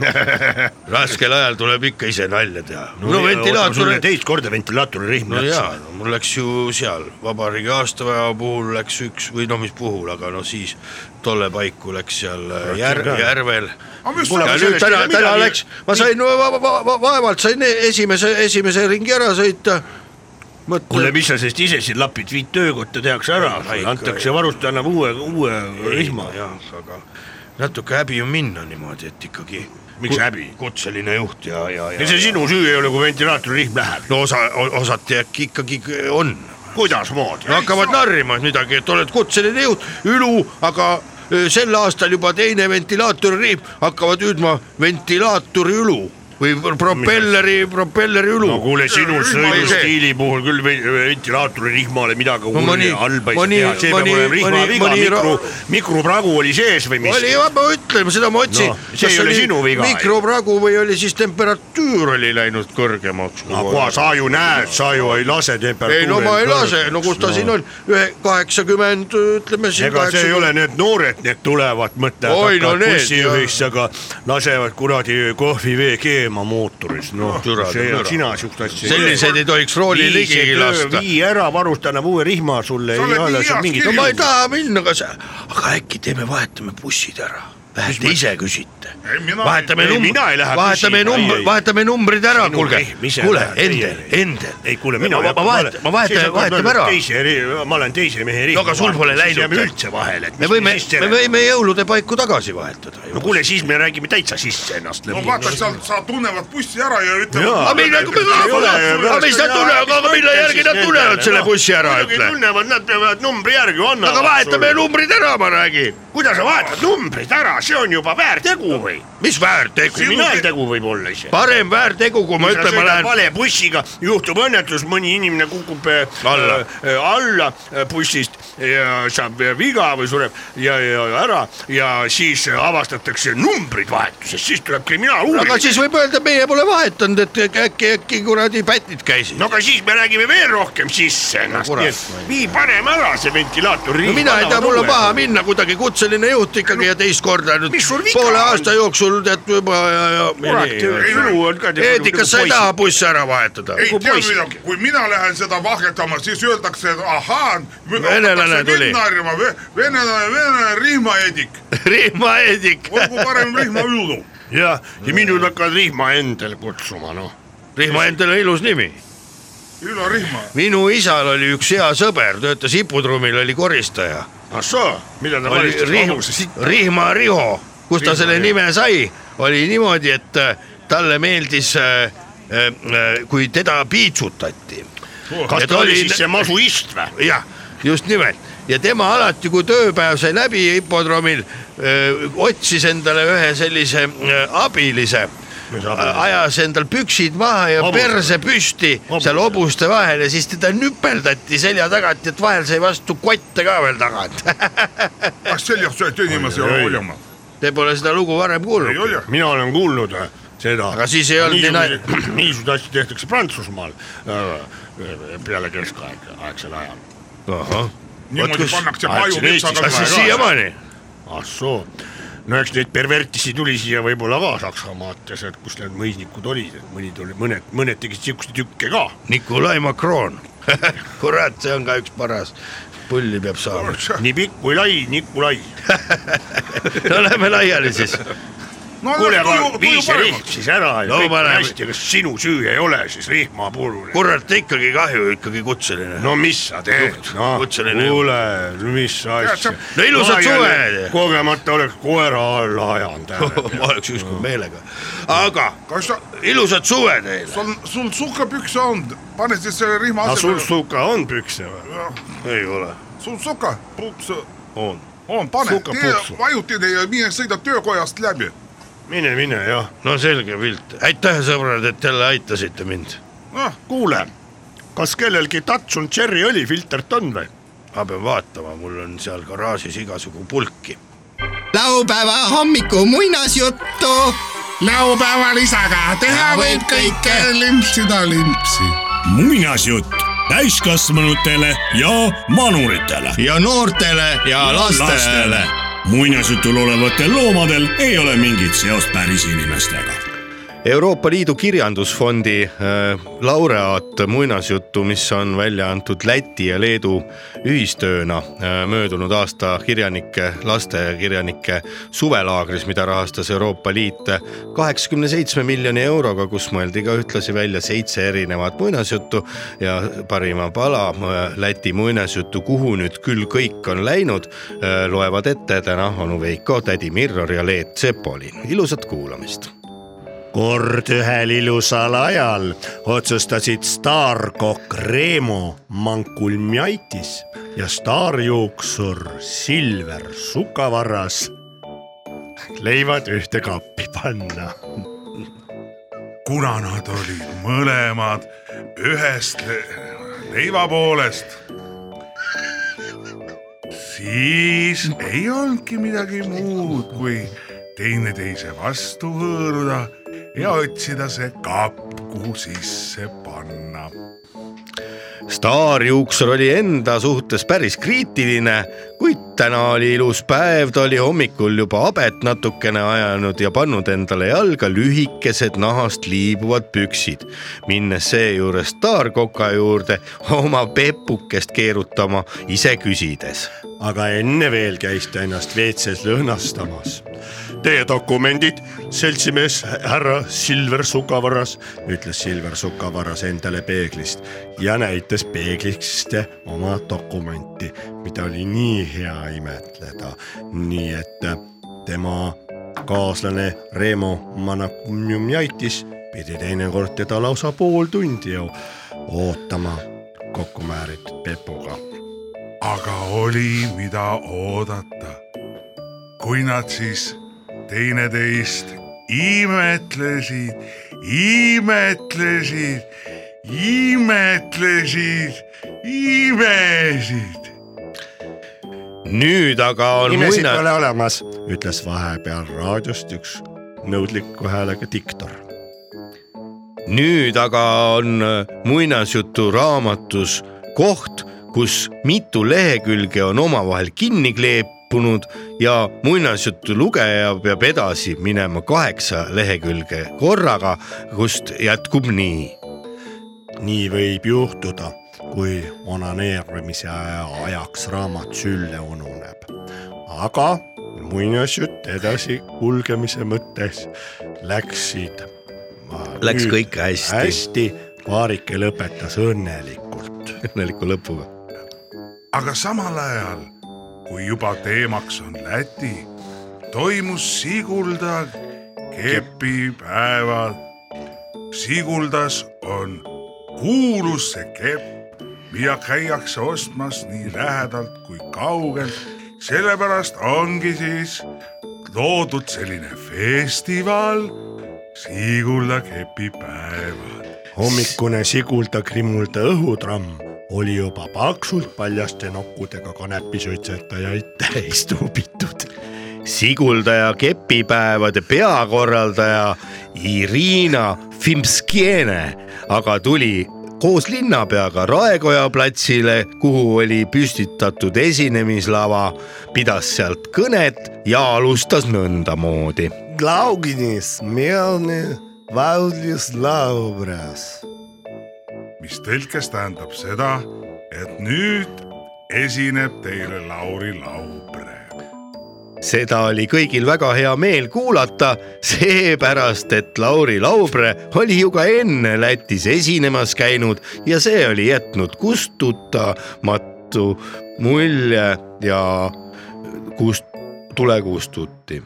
raskel ajal tuleb ikka ise nalja teha . no, no ventilaator ,
teist korda ventilaatori rihm
no jaa , no mul läks ju seal vabariigi aastapäeva puhul läks üks või no mis puhul , aga no siis tolle paiku läks seal äh, jär,
ka.
järvel
Aga mis
ja
sul-
nüüd täna ,
ei
täna
midagi.
läks , ma sain va, va, va, va, vaevalt sain e- esimese , esimese ringi ära sõita .
kuule , mis sa sellest ise siin lapid , viid töökotta , tehakse ära
Ei, , ikka
antakse varust , annab uue , uue rihma .
jah , aga natuke häbi on minna niimoodi , et ikkagi .
Miks häbi?
kutseline juht ja , ja , ja .
ja see sinu süü ei ole , kui ventilaatori rihm läheb .
no osa , osati äkki ikkagi on .
kuidasmoodi
no ? hakkavad narrima midagi , et oled kutseline juht , ülu , aga öö, sel aastal juba teine ventilaatoririhm , hakkavad hüüdma ventilaatori ülu või propelleri , propelleri ülu
no kuule ,
Rühm oli
sinu
see.
sõidustiili puhul küll ve- ventilaatori rihmale midagi
ma
hullu
nii-
ja halba ei
ma
saa
nii-
teha , see
ma
peab
nii-
olema
ma
rihma
nii-
viga
ma , nii ra-
mikro , mikropragu oli sees või mis
oli ,? ma ütlen , seda ma otsin
No, see ei ole sinu viga.
mikropragu või oli siis temperatuur oli läinud kõrgemaks .
no kohe sa ju näed , sa ju ei lase temperatuuri .
ei no ma ei lase , no kus ta no. siin on , ühe kaheksakümmend ütleme siin .
ega see ei ole need noored , need tulevad , mõtlevad ,
Oi, no
hakkavad
need,
bussijuhiks , aga lasevad kuradi kohvivee keema mootoris , noh
türa, , türa.
sina siukest asja .
selliseid ei tohiks rooli ligigi lasta .
vii ära , varusta annab uue rihma sulle ,
Sa
ei
oled
ole
nii
sul
heas
mingit
no
kirjus.
ma ei taha minna , aga sa , aga äkki teeme , vahetame bussid ära , vähemalt te ise küsite .
Ei, mina ei-
vahetame
ei, mina ei
numbrid
lähe ,
vahetame
bussiga, ei,
numbrid
ei. ,
vahetame numbrid ära ,
Minu
kuulge
rehm ise ,
kuule
ära, , teie
Endel ,
ei.
Endel .
ei kuule , mina .
ma vahetan , ma vahetan , vahetame ära .
teise eri , ma olen teise mehe eri .
No aga sul pole läinud
jääme
veel.
üldse vahele , et
me
mis
võime
siis , teeme.
me võime jõulude paiku tagasi vahetada ju
no . kuule , siis me räägime täitsa sisse ennast
no vaata ,
lõpuks .
sa , sa tunnevad bussi ära ja
Jaa.
aga
ütlevad .
mille ,
ei ole,
aga mis nad
pärast-
tunnevad , aga mille järgi nad tunnevad selle bussi ära ,
noh, muidugi
ütle .
tunnevad , nad peavad numbri järgi annavad .
aga vahetame . numbrid ära , ma räägin .
kuidas sa vahetad numbrid ära , see on juba väärtegu või ?
mis väärtegu ?
kriminaaltegu võib-olla isegi .
parem väärtegu , kui ma
sa
ütlen , ma
sõidad
lähen .
vale bussiga , juhtub õnnetus , mõni inimene kukub äh,
Alla.
äh, alla äh, bussist ja saab äh, viga või sureb ja, ja ära ja siis äh, avastatakse numbrid vahetuses , siis tuleb
aga
kriminaaluurimine .
siis võib öelda , meie pole vahetanud , et äkki , äkki kuradi pätid käisid .
no aga siis me räägime veel rohkem sisse ennast
kurat,
no, , nii et vii paneme ära see ventilaator .
no mina ei tea , mul on paha . minna kuidagi kutseline juht ikkagi ja teist korda nüüd
mis sul viga
poole
on?
aasta jooksul tead juba ja , ja .
kurat , elu on ka .
Eetikas sa ei taha bussi ära vahetada .
ei
Kui
tea
nagu poiss-
mida , kui mina lähen seda vahetama , siis öeldakse , et ahaa .
Venelane tuli.
narima , venelane , venelane rihmaeedik ,
Riima Eedik ,
olgu parem rihmaülu .
ja , ja mind hakkavad vihma endale kutsuma , noh .
Riima endal on ilus nimi
Ülo Rihma ,
minu isal oli üks hea sõber , töötas Ipudrumil , oli koristaja .
ahsoo , Ah, mida ta
oli
valistas
Rihm-
vanuse sitta .
Rihma Riho , kust ta selle nime sai , oli niimoodi , et äh, talle meeldis , kui teda piitsutati .
kas
Ja
ta
ta
oli
oli-
siis see masuist või ?
jah , just nimelt ja tema alati , kui tööpäev sai läbi hipodroomil , otsis endale ühe sellise öö, abilise . ajas endal püksid maha ja
Hobuse.
perse püsti
Hobuse.
seal hobuste vahel ja siis teda nüpeldati selja tagant , et vahel sai vastu kotte ka veel tagant .
kas seljas sööd inimesi
Oi, oi.
Holjamaa ?
Te pole seda lugu varem
ei
kuulnud ?
ole ,
mina olen kuulnud äh, seda .
Aga siis ei olnud nii nal-
niisuguseid , niisuguseid asju tehtakse Prantsusmaal äh, peale keskaeg , aegsel ajal .
niimoodi
kus-
pannakse
Ah, et
paju
siin Eestis-
metsaga
kas siis
Väga-
siiamaani ?
ah soo , no eks neid pervertisi tuli siia võib-olla ka Saksamaalt ja sealt , kus need mõisnikud olid , et mõni tuli , mõned , mõned tegid siukseid tükke ka .
Nikolai Macron . kurat , see on ka üks paras , pulli peab saama .
nii pikk kui lai , Nikolai .
no lähme laiali siis .
No aga
kuule ,
tuju- tuju
aga vii see
paremaks.
rihm siis ära
No
ja kõik on
paneme.
hästi , kas sinu süü ei ole siis rihma purune ?
kurat , ikkagi kahju , ikkagi kutseline .
no mis sa teed , noh ,
kutseline-
kuule , mis
Tead,
asja
sa- .
No ilusat suve!
kogemata oleks koera alla ajanud ära .
ma oleks ükskord meelega , aga
kas sa ,
ilusat suve teile .
sul , sul sukapükse on , pane siis selle rihma
aga sul
asemele .
suka on pükse või ?
Э,
ei ole ,
sul suka , puks
on .
on , pane
Suka , puksu.
vajutine ja mine sõida töökojast läbi .
mine , mine jah .
no selge pilt , aitäh , sõbrad , et jälle aitasite mind .
noh ,
kuule , kas kellelgi Datsun Cherry õlifiltert on või ?
ma pean vaatama , mul on seal garaažis igasugu pulki .
laupäeva hommiku muinasjuttu .
laupäeval isaga teha võib kõike , limpsida limpsi .
muinasjutt täiskasvanutele ja manuritele .
ja noortele ja lastele .
muinasjutul olevatel loomadel ei ole mingit seost päris inimestega .
Euroopa Liidu Kirjandusfondi äh, laureaat muinasjuttu , mis on välja antud Läti ja Leedu ühistööna äh, möödunud aasta kirjanike , lastekirjanike suvelaagris , mida rahastas Euroopa Liit äh, kaheksakümne seitsme miljoni euroga , kus mõeldi ka ühtlasi välja seitse erinevat muinasjuttu ja parima pala äh, Läti muinasjuttu , kuhu nüüd küll kõik on läinud , loevad ette täna onu Veiko , tädi Mirror ja Leet Sepolin , ilusat kuulamist
kord ühel ilusal ajal otsustasid staarkokk Reemo Mankulmjaitis ja staarjuuksur Silver Sukavarras leivad ühte kappi panna .
kuna nad olid mõlemad ühest le leiva poolest , siis ei olnudki midagi muud , kui teineteise vastu hõõruda ja otsida see kapp , kuhu sisse panna .
staarjuuksur oli enda suhtes päris kriitiline , kuid täna oli ilus päev , ta oli hommikul juba habet natukene ajanud ja pannud endale jalga lühikesed nahast liibuvad püksid , minnes seejuures staarkoka juurde oma pepukest keerutama , ise küsides .
aga enne veel käis ta ennast WC-s lõhnastamas . Teie dokumendid , seltsimees härra Silver Sukavarras , ütles Silver Sukavarras endale peeglist ja näitas peeglist oma dokumenti , mida oli nii hea imetleda , nii et tema kaaslane Reemo Manakumjaitis pidi teinekord teda lausa pool tundi ju ootama kokku määritud pepuga
aga oli , mida oodata . kui nad siis teineteist imetlesid , imetlesid , imetlesid , imesid .
nüüd aga on
imesid
muina-
pole olemas , ütles vahepeal raadiost üks nõudliku häälega diktor .
nüüd aga on äh, muinasjutu raamatus koht , kus mitu lehekülge on omavahel kinni kleepunud ja muinasjutu lugeja peab edasi minema kaheksa lehekülge korraga , kust jätkub nii .
nii võib juhtuda , kui onaneerimise aja- ajaks raamat sülle ununeb . aga muinasjutt edasi kulgemise mõttes läksid .
Läks kõik hästi.
hästi , Vaarike lõpetas õnnelikult .
õnneliku lõpuga .
aga samal ajal , kui juba teemaks on Läti , toimus Sigulda kepipäevad . Siguldas on kuulus see kepp , mida käiakse ostmas nii lähedalt kui kaugelt . sellepärast ongi siis loodud selline festival Sigulda kepipäevad .
hommikune sigulda-krimulda õhutramm oli juba paksult paljaste nokkudega kanepisuitsetajaid täis tuubitud .
siguldaja kepipäevade peakorraldaja Irina Fimskiene aga tuli koos linnapeaga Raekoja platsile , kuhu oli püstitatud esinemislava , pidas sealt kõnet ja alustas nõndamoodi .
Glaugini smelni vaudlis laubras .
mis tõlkes tähendab seda , et nüüd esineb teile Lauri Laubre .
seda oli kõigil väga hea meel kuulata , seepärast et Lauri Laubre oli ju ka enne Lätis esinemas käinud ja see oli jätnud kustutamatu mulje ja kust tule kustuti .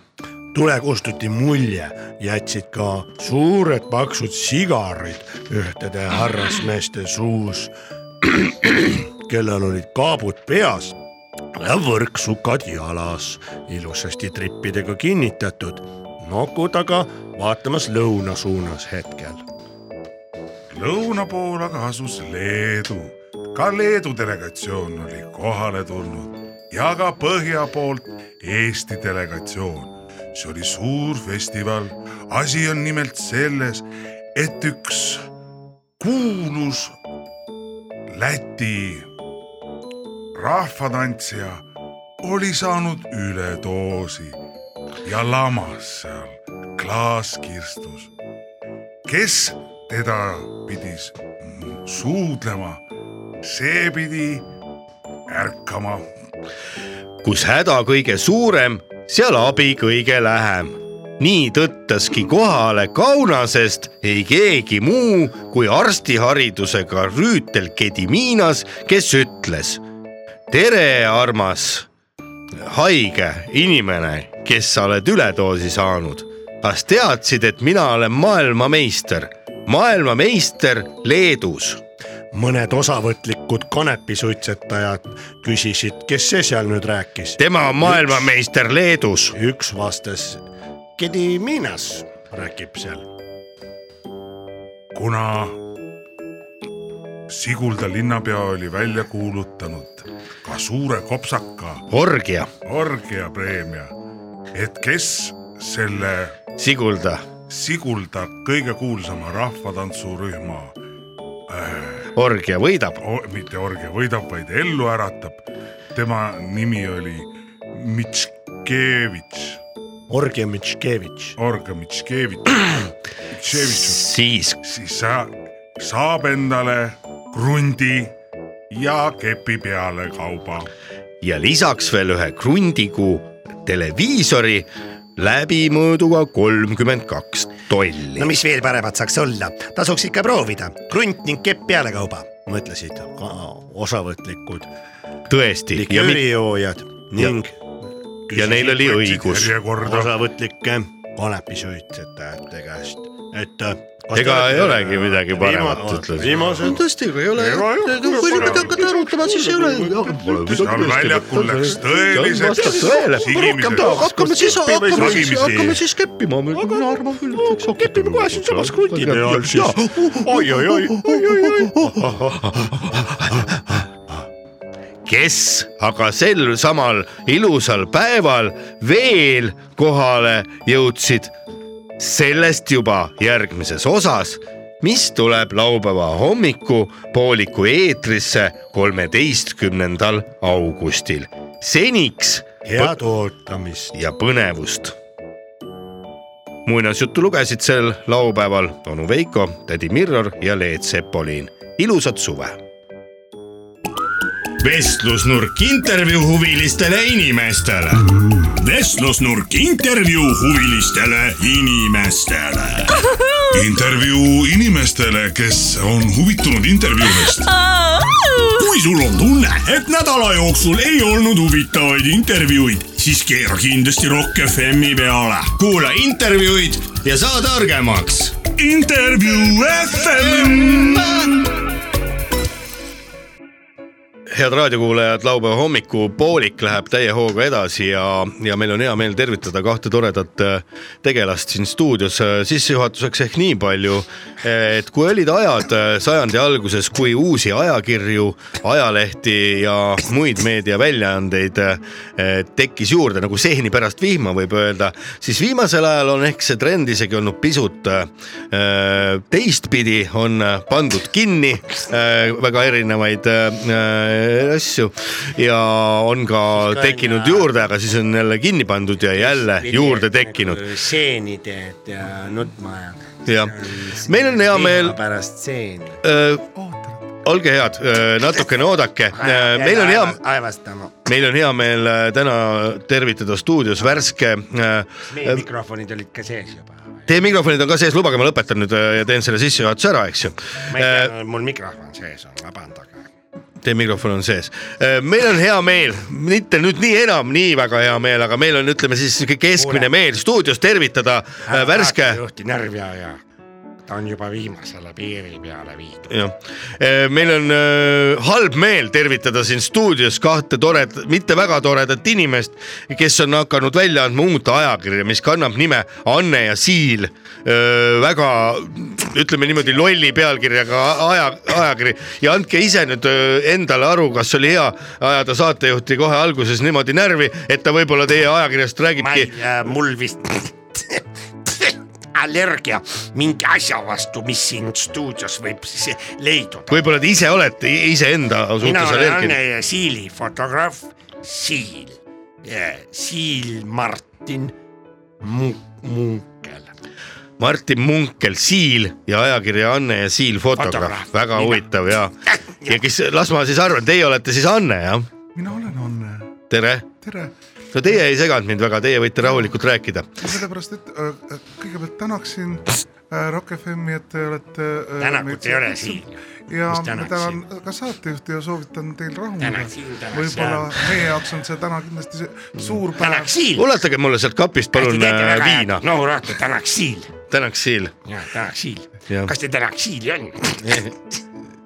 tule kustuti mulje , jätsid ka suured paksud sigarid ühtede härrasmeeste suus , kellel olid kaabud peas ja võrksukad jalas , ilusasti trippidega kinnitatud , nokud aga vaatamas lõuna suunas hetkel .
lõuna pool aga asus Leedu . ka Leedu delegatsioon oli kohale tulnud ja ka põhja poolt Eesti delegatsioon . see oli suur festival . asi on nimelt selles , et üks kuulus Läti rahvatantsija oli saanud üledoosi ja lamas seal klaaskirstus . kes teda pidi s- m- suudlema , see pidi ärkama .
kus häda kõige suurem , seal abi kõige lähem . nii tõttaski kohale Kaunasest ei keegi muu kui arstiharidusega rüütel Gediminas , kes ütles . tere , armas haige inimene , kes sa oled üledoosi saanud . kas teadsid , et mina olen maailmameister , maailmameister Leedus
mõned osavõtlikud kanepisuitsetajad küsisid , kes see seal nüüd rääkis .
tema on maailmameister Leedus .
üks vastas , Kedi Minas räägib seal
kuna Sigulda linnapea oli välja kuulutanud ka suure kopsaka
orgia ,
orgiapreemia , et kes selle
Sigulda ,
Sigulda kõige kuulsama rahvatantsurühma ,
orgia võidab .
mitte orgia võidab , vaid ellu äratab . tema nimi oli Mitškevitš ,
Orgi Mitškevitš .
orga Mitškevitš .
siis
siis sa saab endale krundi ja kepi peale kauba .
ja lisaks veel ühe krundiku televiisori läbimõõduga kolmkümmend kaks tolli
no . mis veel paremat saaks olla , tasuks ikka proovida , krunt ning kepp pealekauba , mõtlesid ka osavõtlikud
tõesti ja, mi-
liköörijoojad ning
ja neil oli õigus .
järjekorda .
osavõtlike kanepisuitsetajate käest , et . äh,
ega ei olegi midagi paremat , ütles .
viimased .
tõesti , ega ei ole
Ega ei ole.
kui nüüd hakkate arutama , siis ei ole .
seal väljakul läks tõeliseks
vastab tõele.
sigimiseks .
hakkame siis , hakkame siis ,
Sagimisi.
hakkame siis keppima . mina arvan küll , et võiks hakata .
kepime kohe siinsamas krundi peal siis . oi , oi , oi , oi , oi , oi .
kes aga sel samal ilusal päeval veel kohale jõudsid . sellest juba järgmises osas , mis tuleb laupäeva hommikupooliku eetrisse kolmeteistkümnendal augustil . seniks
head ootamist .
ja põnevust . muinasjuttu lugesid sel laupäeval onu Veiko , tädi Mirror ja Leet Sepolin . ilusat suve
vestlusnurk intervjuu huvilistele inimestele . vestlusnurk intervjuu huvilistele inimestele .
intervjuu inimestele , kes on huvitunud intervjuudest .
kui sul on tunne , et nädala jooksul ei olnud huvitavaid intervjuuid , siis keera kindlasti Rock FM-i peale . kuula intervjuud ja saa targemaks . intervjuu FM .
head raadiokuulajad , laupäeva hommikupoolik läheb täie hooga edasi ja , ja meil on hea meel tervitada kahte toredat äh, tegelast siin stuudios . sissejuhatuseks ehk nii palju , et kui olid ajad äh, sajandi alguses , kui uusi ajakirju , ajalehti ja muid meediaväljaandeid äh, tekkis juurde nagu seeni pärast vihma , võib öelda , siis viimasel ajal on ehk see trend isegi olnud pisut äh, teistpidi , on äh, pandud kinni äh, väga erinevaid äh, asju ja on ka tekkinud juurde , aga siis on jälle kinni pandud ja jälle juurde tekkinud .
Äh,
stseeniteed ja nutma ja .
jah , meil on hea meel
pärast stseeni .
öö, olge head , natukene oodake , meil on hea ,
aevastama .
meil on hea meel äh, täna tervitada stuudios värske
meie
äh,
mikrofonid olid ka sees juba .
Teie mikrofonid on ka sees , lubage , ma lõpetan nüüd äh, ja teen selle sissejuhatuse ära , eks ju .
ma ei tea , Äh, mul mikrofon sees on , vabandage .
Teie mikrofon on sees . meil on hea meel , mitte nüüd nii enam nii väga hea meel , aga meil on , ütleme siis sihuke keskmine
Kuule.
meel stuudios tervitada äh, värske .
juhti närvja ja ta on juba viimasele piiri peale viidud .
jah , meil on äh, halb meel tervitada siin stuudios kahte toredat , mitte väga toredat inimest , kes on hakanud välja andma uut ajakirja , mis kannab nime Anne ja Siil . väga ütleme niimoodi lolli pealkirjaga aja , ajakiri ja andke ise nüüd öö, endale aru , kas oli hea ajada saatejuhti kohe alguses niimoodi närvi , et ta võib-olla teie ajakirjast
ma ei
räägibki ,
äh, , mul vist allergia mingi asja vastu , mis siin stuudios võib siis leiduda .
võib-olla te ise olete i- iseenda
mina
suhtes
olen
allergiline .
Anne ja Siili fotograaf Siil , Siil Martin Mu- Munkel .
Martin Munkel , Siil ja ajakirja Anne ja Siil fotograaf ,
Fotograaf.
väga
Mina.
huvitav ja , ja kes , las ma siis arvan , teie olete siis Anne jah ?
mina olen Anne ,
tere ,
tere .
no teie ei seganud mind väga , teie võite rahulikult rääkida .
sellepärast , et äh, kõigepealt tänaksin äh, Rock FM-i , et te olete äh, .
tänakut ei ole siin .
ja
Mis
ma
tänaksin?
tänan ka saatejuhti ja soovitan teil rahuneda
Tänak siin, tänak .
võib-olla
seal.
meie jaoks on see täna kindlasti see suur päev
tänak . Siil .
ulatage mulle sealt kapist palun äh, viina ,
nohurahtu tänak Siil .
tänaks Siil .
jah , tänak Siil
Jah. .
kas teil tänak Siili on ?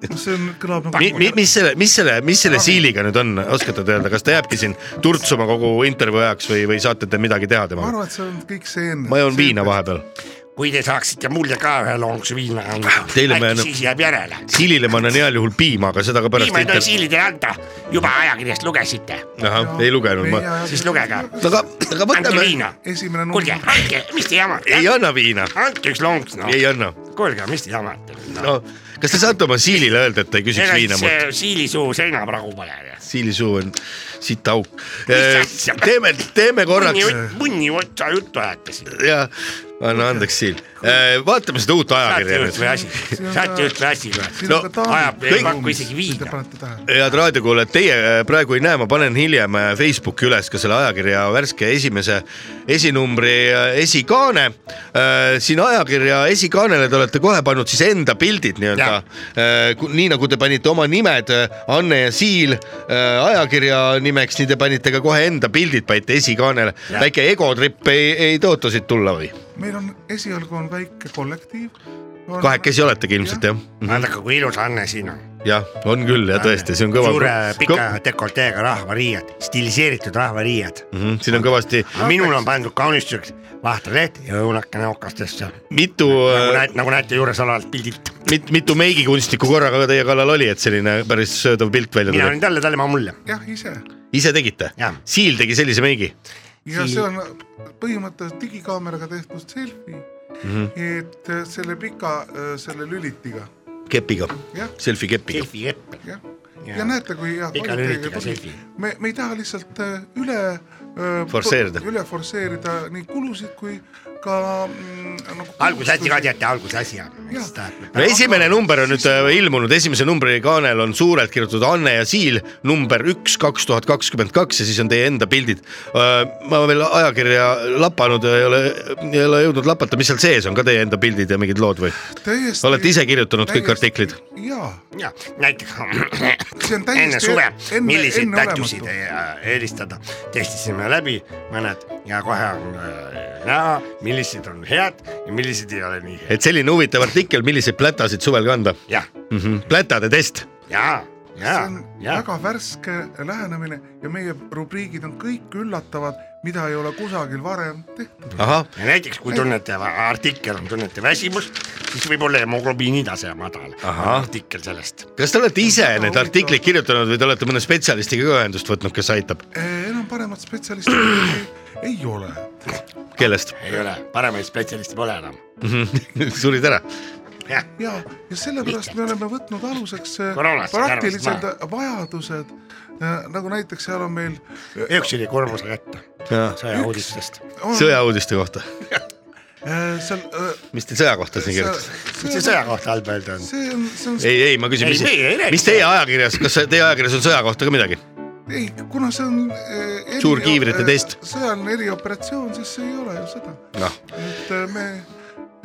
see on , kõlab
Mi,
nagu
mi, . mis selle , mis selle , mis selle Siiliga nüüd on , oskate te öelda , kas ta jääbki siin turtsuma kogu intervjuu ajaks või , või saate te midagi teha
ma
temaga ?
arvan , et see on kõik see enne .
ma joon viina . vahepeal ,
kui te saaksite mulle ka ühe lonksu viina anda ,
Teile me
äkki
annab-
siis jääb järele .
Siilile ma annan heal juhul piima , aga seda ka pärast
viima ei tohi
inter... .
Siilidele anda , juba ajakirjast lugesite ,
ahah , ei lugenud ma .
siis lugege .
aga , aga
andke
võtame ,
viina .
esimene
kuulge ,
number .
andke , mis te jamate
ei , anna viina
andke üks lonks noh .
ei anna
kuulge , mis te jamate no. ?
no, . kas te saate oma siilile öelda , et ta ei küsiks
ega
viina mult ?
siis siili suu seinapragu pole .
siili suu on sitaauk .
asja?
teeme , teeme korraks
munni , munni otsa juttu ajate siin .
ja anna andeks , Siil . vaatame seda uut ajakirja
saatejuht või
nüüd .
asi , saatejuht või asi või ?
No,
ajab- ei paku isegi viina.
Te panete tähele .
head raadiokuulajad , teie äh, praegu ei näe , ma panen hiljem äh, Facebooki üles ka selle ajakirja värske esimese esinumbri äh, esikaane . siin ajakirja esikaanele te olete kohe pannud siis enda pildid nii-öelda
Jah. ,
nii nagu te panite oma nimed , Anne ja Siil äh, ajakirja nimeks , nii te panite ka kohe enda pildid panite esikaanele .
Jah.
väike egotripp ei , ei tõota siit tulla või ?
meil on , esialgu on väike kollektiiv .
kahekesi oletegi ilmselt jah ?
vaadake , kui ilus Anne siin on .
jah , on küll ja tõesti , see on kõva .
suure pika dekolteega rahvariied , stiliseeritud rahvariied .
Mhm, siin on kõvasti
minul on pandud kaunistuseks vahtraleht ja õunakene
Äh.
okastesse ,
mitu äh, ,
nagu näete , nagu näete juures olevalt pildilt .
mit, mitu meigikunstnikku korraga ka teie kallal oli , et selline päris söödav pilt välja
mina
tuli .
olin talle , talle ma mulle .
jah , ise
ise tegite
Jah. ?
Siil tegi sellise meigi .
ja
Siin-
see on põhimõtteliselt digikaameraga tehtud selfie mm ,
Mhm.
-hmm. et äh, selle pika , selle lülitiga ,
kepiga ,
jah ,
selfie kepiga .
selfie kepp .
jah .
Jaa.
ja näete , kui hea
Pika
kvaliteediga
lülitiga
tuli.
selfie.
me , me ei taha lihtsalt äh, üle äh,
Forsseerida.
üle forsseerida nii kulusid kui ka mm, nagu
algusasi ka teate , algusasi on .
no esimene number on nüüd äh, ilmunud , esimese numbri kaanel on suurelt kirjutatud Anne ja Siil , number üks , kaks tuhat kakskümmend kaks ja siis on teie enda pildid . ma veel ajakirja lapanud ei ole , ei ole jõudnud lapata , mis seal sees on ka teie enda pildid ja mingid lood või ?
täiesti
olete ise kirjutanud kõik artiklid? ?
jaa ,
ja näiteks
See on täiesti
enne suve
enne- ,
milliseid
enneolematu.
tätusid äh, eelistada , testisime läbi mõned ja kohe on äh, näha , millised on head ja millised ei ole nii head .
et selline huvitav artikkel , milliseid plätasid suvel kanda
jah ,
mm . -hmm. plätade test ,
ja , ja
see on ,
ja
väga värske lähenemine ja meie rubriigid on kõik üllatavad , mida ei ole kusagil varem tehtud .
ahah ,
ja näiteks , kui tunnete , artikkel on , tunnete väsimust , siis võib-olla hemoglobiini tase on madal .
Ahah.
artikkel sellest .
kas te olete ise need artiklid kirjutanud või te olete mõne spetsialistiga ka ühendust võtnud , kes aitab ,
enam paremat spetsialisti ei- ei ole ,
kellest
ei ole , paremaid spetsialiste pole enam .
surid ära ,
jah ,
ja , ja sellepärast me oleme võtnud aluseks äh,
Koroonast
praktilised
kärvast
vajadused , nagu näiteks seal on meil
üks oli koormuse kätte , sõjauudistest .
on,
sõjauudiste kohta ,
seal äh,
mis teil sõja kohta siin kirjutas ?
mis see sõja kohta halb öelda on ?
see on , see on ,
ei , ei , ma küsin ,
Ei,
mis
meie ei , räägi
mis teie ajakirjas , kas teie ajakirjas on sõja kohta ka midagi ?
ei , kuna see on äh,
Suur kiivrite test. .
sõjaline erioperatsioon , siis see ei ole ju sõda .
noh ,
et äh, me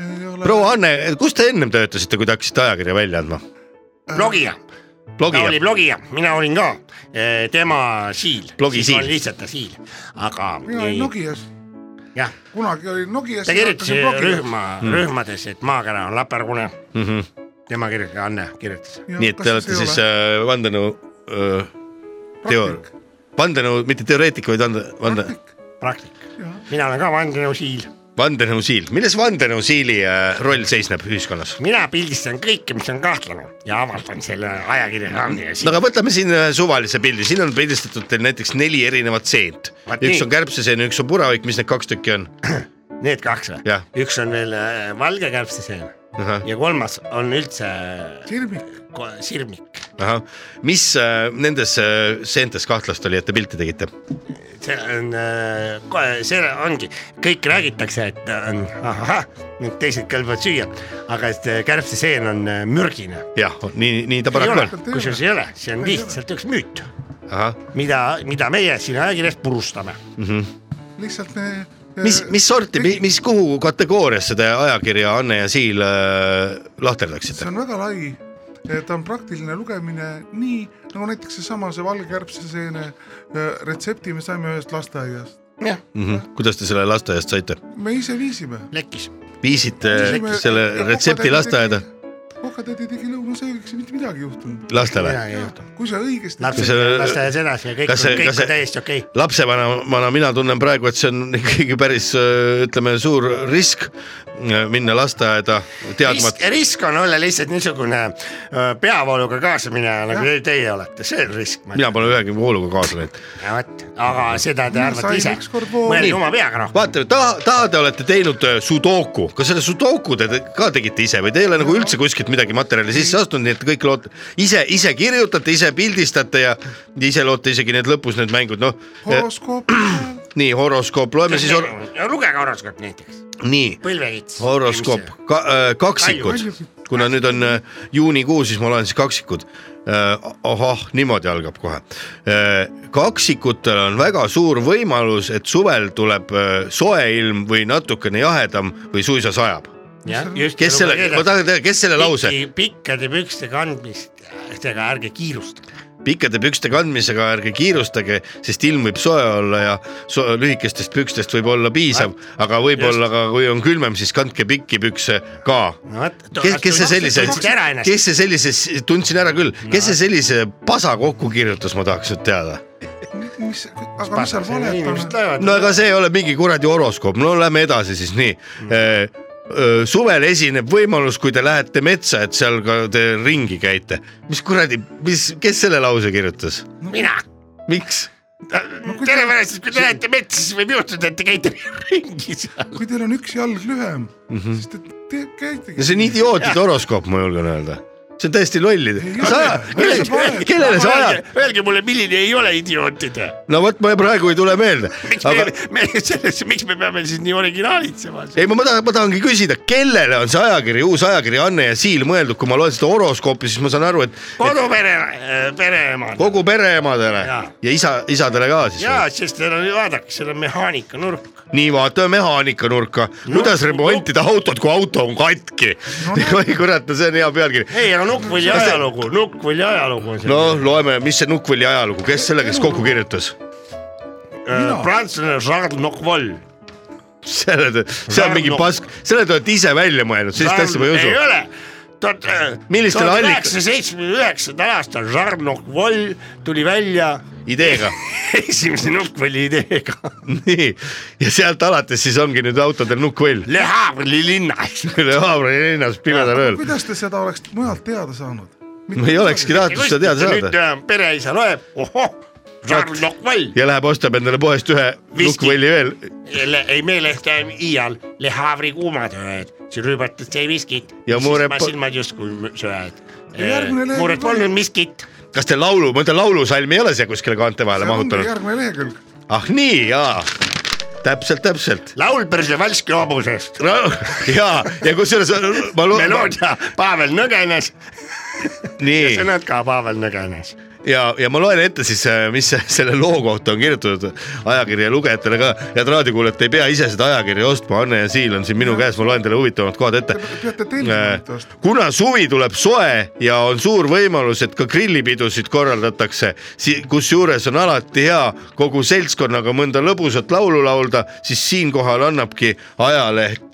ei ole .
proua Anne , kus te ennem töötasite , kui te hakkasite ajakirja välja andma ?
blogija , Äh, ta oli
blogija ,
blogija , mina olin ka , tema siil .
Blogi siil.
lihtsalt ta siil , aga .
mina olin Nokias ,
jah ,
kunagi olin Nokias .
ta kirjutas rühma mm. , rühmades , et maakera on lapergune mm . -hmm. tema kirjutas , Anne kirjutas .
nii et te olete siis äh, vandenõu äh, teo- , vandenõu , mitte teoreetik , vaid vande , vande ,
praktik . mina olen ka vandenõusiil ,
vandenõusiil . milles vandenõusiili äh, roll seisneb ühiskonnas ?
mina pildistan kõike , mis on kahtlane ja avaldan selle ajakirja Anne ja
no
siil .
aga võtame siin ühe suvalise pildi , siin on pildistatud teil näiteks neli erinevat seent .
Vaat
üks
nii.
on kärbseseen ja üks on puravik , mis need kaks tükki on ?
Need kaks või
Jah. ?
üks on veel äh, valge kärbseseen
Ahah.
ja kolmas on üldse äh,
sirmik ,
ko- sirmik .
ahah , mis äh, nendes äh, seentes kahtlast oli , et te pilti tegite ?
see on , see ongi , kõik räägitakse , et on ahah , need teised kõlbavad süüa , aga et äh, kärbseseen on äh, mürgine .
jah , nii , nii ta
ei
paraku
ole
on .,
kusjuures ei ole , see on lihtsalt üks müüt ,
ahah ,
mida , mida meie siin ajakirjas purustame .
lihtsalt me . eh,
Äh,
mis , mis sorti , mis , kuhu kategooriasse te ajakirja Anne ja Siil äh, lahterdaksite
see ? on väga lai , ta on praktiline lugemine , nii nagu näiteks seesama , see valge kärbseseene äh, retsepti me saime ühest lasteaiast ,
jah , Mhm.
kuidas te selle lasteaiast saite ?
me ise viisime .
lekkis .
viisite Eh, selle retsepti lasteaeda ?
kokatädi tegi lõunasöögiks ja mitte midagi ei juhtunud ,
lastele ?
midagi ei juhtu .
kui sa õigesti .
Kas
lapsed
see-
lasteaias edasi ja kõik
kas
on
see- , kas
kõik
see-
on täiesti okei .
lapsevanemana mina tunnen praegu , et see on ikkagi päris äh, ütleme , suur risk äh, minna lasteaeda
risk
teadmata ,,
risk on olla lihtsalt niisugune öö, peavooluga kaasamineja , nagu te- teie olete , see on risk .
mina pole ühegi vooluga kaasa läinud .
no vot , aga seda te arvate
sain
ise
ükskord . voolu.
mõelge oma peaga noh .
vaata , taha , taha te olete teinud äh, sudoku , kas selle sudoku te te- ka tegite ise või te ei ole nagu üldse kuskilt midagi materjali sisse astunud , nii et kõik loote ise , ise kirjutate , ise pildistate ja ise loote isegi need lõpus need mängud , noh .
horoskoop ,
nii horoskoop , loeme siis hor- ,
lugege horoskoop näiteks ,
nii
põlvekits .
horoskoop , kaksikud , kuna nüüd on äh, juunikuu , siis ma loen siis kaksikud . ahah , niimoodi algab kohe . kaksikutel on väga suur võimalus , et suvel tuleb äh, soe ilm või natukene jahedam või suisa sajab . kes selle , ma tahan teada , kes selle lause
pikkade pükste kandmistega ärge kiirustage .
pikkade pükste kandmisega ärge kiirustage , sest ilm võib soe olla ja so lühikestest pükstest võib olla piisav , aga võib-olla ka kui on külmem , siis kandke pikki pükse ka
no vot
kes , kes see sellise ,
ära ennast ,
kes see sellise , tundsin ära küll , kes see sellise pasa kokku kirjutas , ma tahaks nüüd teada .
mis , aga mis seal valet
inimesed
on ?
loevad
no aga see ei ole mingi kuradi horoskoop , no lähme edasi siis nii .
Mm.
suvel esineb võimalus , kui te lähete metsa , et seal ka te ringi käite . mis kuradi , mis , kes selle lause kirjutas ,
mina .
miks ?
tere pärast , kui te lähete metsa , siis võib juhtuda , et te käite ringi seal .
kui teil on üks jalg lühem mm , -hmm. siis te, te
no .
käitegi
Mhm. see on idiootide horoskoop , ma julgen öelda . see on täiesti lollide . kellele sa ajad ?
Öelge mulle , milline ei ole idiootide .
no vot , ma praegu ei tule meelde .
miks me , me sellesse , miks me peame siis nii originaalitsema ?
ei , ma tahan , ma tahangi küsida , kellele on see ajakiri , uus ajakiri Anne ja Siil mõeldud , kui ma loen seda horoskoopi , siis ma saan aru , et
kodupere , pereema .
kogu pereemadele ja,
Jaa.
ja isa , isadele ka siis .
ja , sest seal on , vaadake , seal on mehaanikanurk .
nii , vaatame mehaanika nurka no, , kuidas remontida no. autot , kui auto on katki no, . oi kurat , no see on hea pealkiri .
ei , aga Nukkvõlli ajalugu , Nukkvõlli ajalugu on seal
no loeme , mis see Nukkvõlli ajalugu , kes selle , kes kokku kirjutas ?
no. . prantslane Charles Nukkvõll .
selle , see on mingi pask , selle te olete ise välja mõelnud , sellist asja ma ei
ei
usu .
ole . tuhat
Millistel allik-
üheksasaja seitsmekümne üheksandal aastal Charles Nukkvõll tuli välja
ideega
esimese Nukkvõlli ideega .
nii , ja sealt alates siis ongi nüüd autodel Nukkvõll .
Le Havre'i linnas .
üle Haabri linnas pimedal ööl .
kuidas te seda oleks mujalt teada saanud ?
ma ei olekski tahtnud seda teada
nüüd
saada .
äh, pereisa loeb , ohoh , Charles Nukkvõll .
ja läheb ostab endale poest ühe
Viski.
nukkvõlli veel .
Le, ei meelehtä ial le haavri kuumad ööd , sa rüübatad sai viskit
Ja mure
siis ma
po-
silmad justkui Äh, mü- söed .
järgmine lehe-
muret polnud miskit ,
kas te laulu , ma ütlen laulusalm ei ole siia kuskile kaante vahele mahutanud ?
järgmine lehekülg .
ah nii , jaa . täpselt , täpselt .
laul Persevalski hobusest ,
no ja , ja kusjuures ma loodan ,
meloodia Pavel Nõgenes ,
nii
sõnad ka Pavel Nõgenes .
ja , ja ma loen ette siis , mis se- selle loo kohta on kirjutatud ajakirja lugejatele ka . head raadiokuulajad , te ei pea ise seda ajakirja ostma , Anne ja Siil on siin minu käes , ma loen teile huvitavamad kohad ette . Äh,
peate tellima neid vastu .
kuna suvi tuleb soe ja on suur võimalus , et ka grillipidusid korraldatakse , kusjuures on alati hea kogu seltskonnaga mõnda lõbusat laulu laulda , siis siinkohal annabki ajaleht ,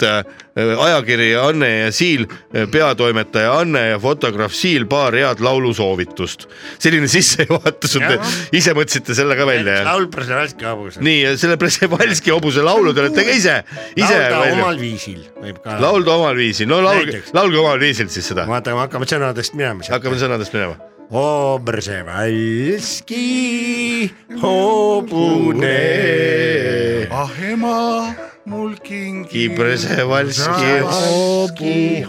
ajakiri Anne ja Siil , peatoimetaja Anne ja fotograaf Siil paar head laulusoovitust . selline sissejuhatus on , te ise mõtlesite selle ka välja jah ?
laul Persevalski hobusest .
nii , selle Przewalski hobuse laulu te olete ka ise , ise
laulda
välja ,
omal viisil võib ka .
laulda omal viisil , no laulge
Näiteks. ,
laulge omal viisil siis seda .
vaata , hakkame sõnadest minema siis .
hakkame sõnadest minema .
O Brzevalski hobune ,
ah ema , mul kingi
Kibresevalski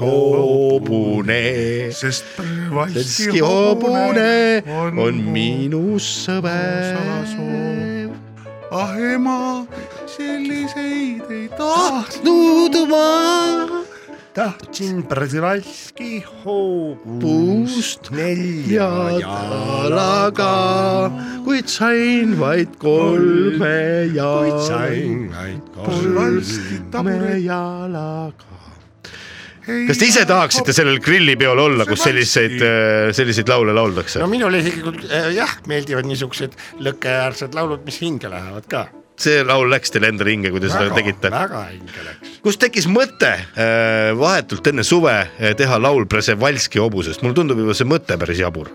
hobu- hobune ,
sest Valski
Valski hobune on minu sõber
salasoov. . ah ema , selliseid ei tahtnud .
tahtnud ma
tahtsin Brzevalski hobust
puust
nelja
ja jalaga , kuid sain vaid kolme
kuid
jala ,
sain vaid
Valski
kolme
taburet
jalaga .
ei
kas te ise tahaksite sellel grillipeol olla , kus selliseid , selliseid laule lauldakse
no ? minule isiklikult äh, jah , meeldivad niisugused lõkkeäärsed laulud , mis hinge lähevad ka .
see laul läks teile endale hinge , kui te seda tegite ?
väga hinge läks .
kus tekkis mõte äh, vahetult enne suve äh, teha laul Przewalski hobusest , mulle tundub juba see mõte päris jabur .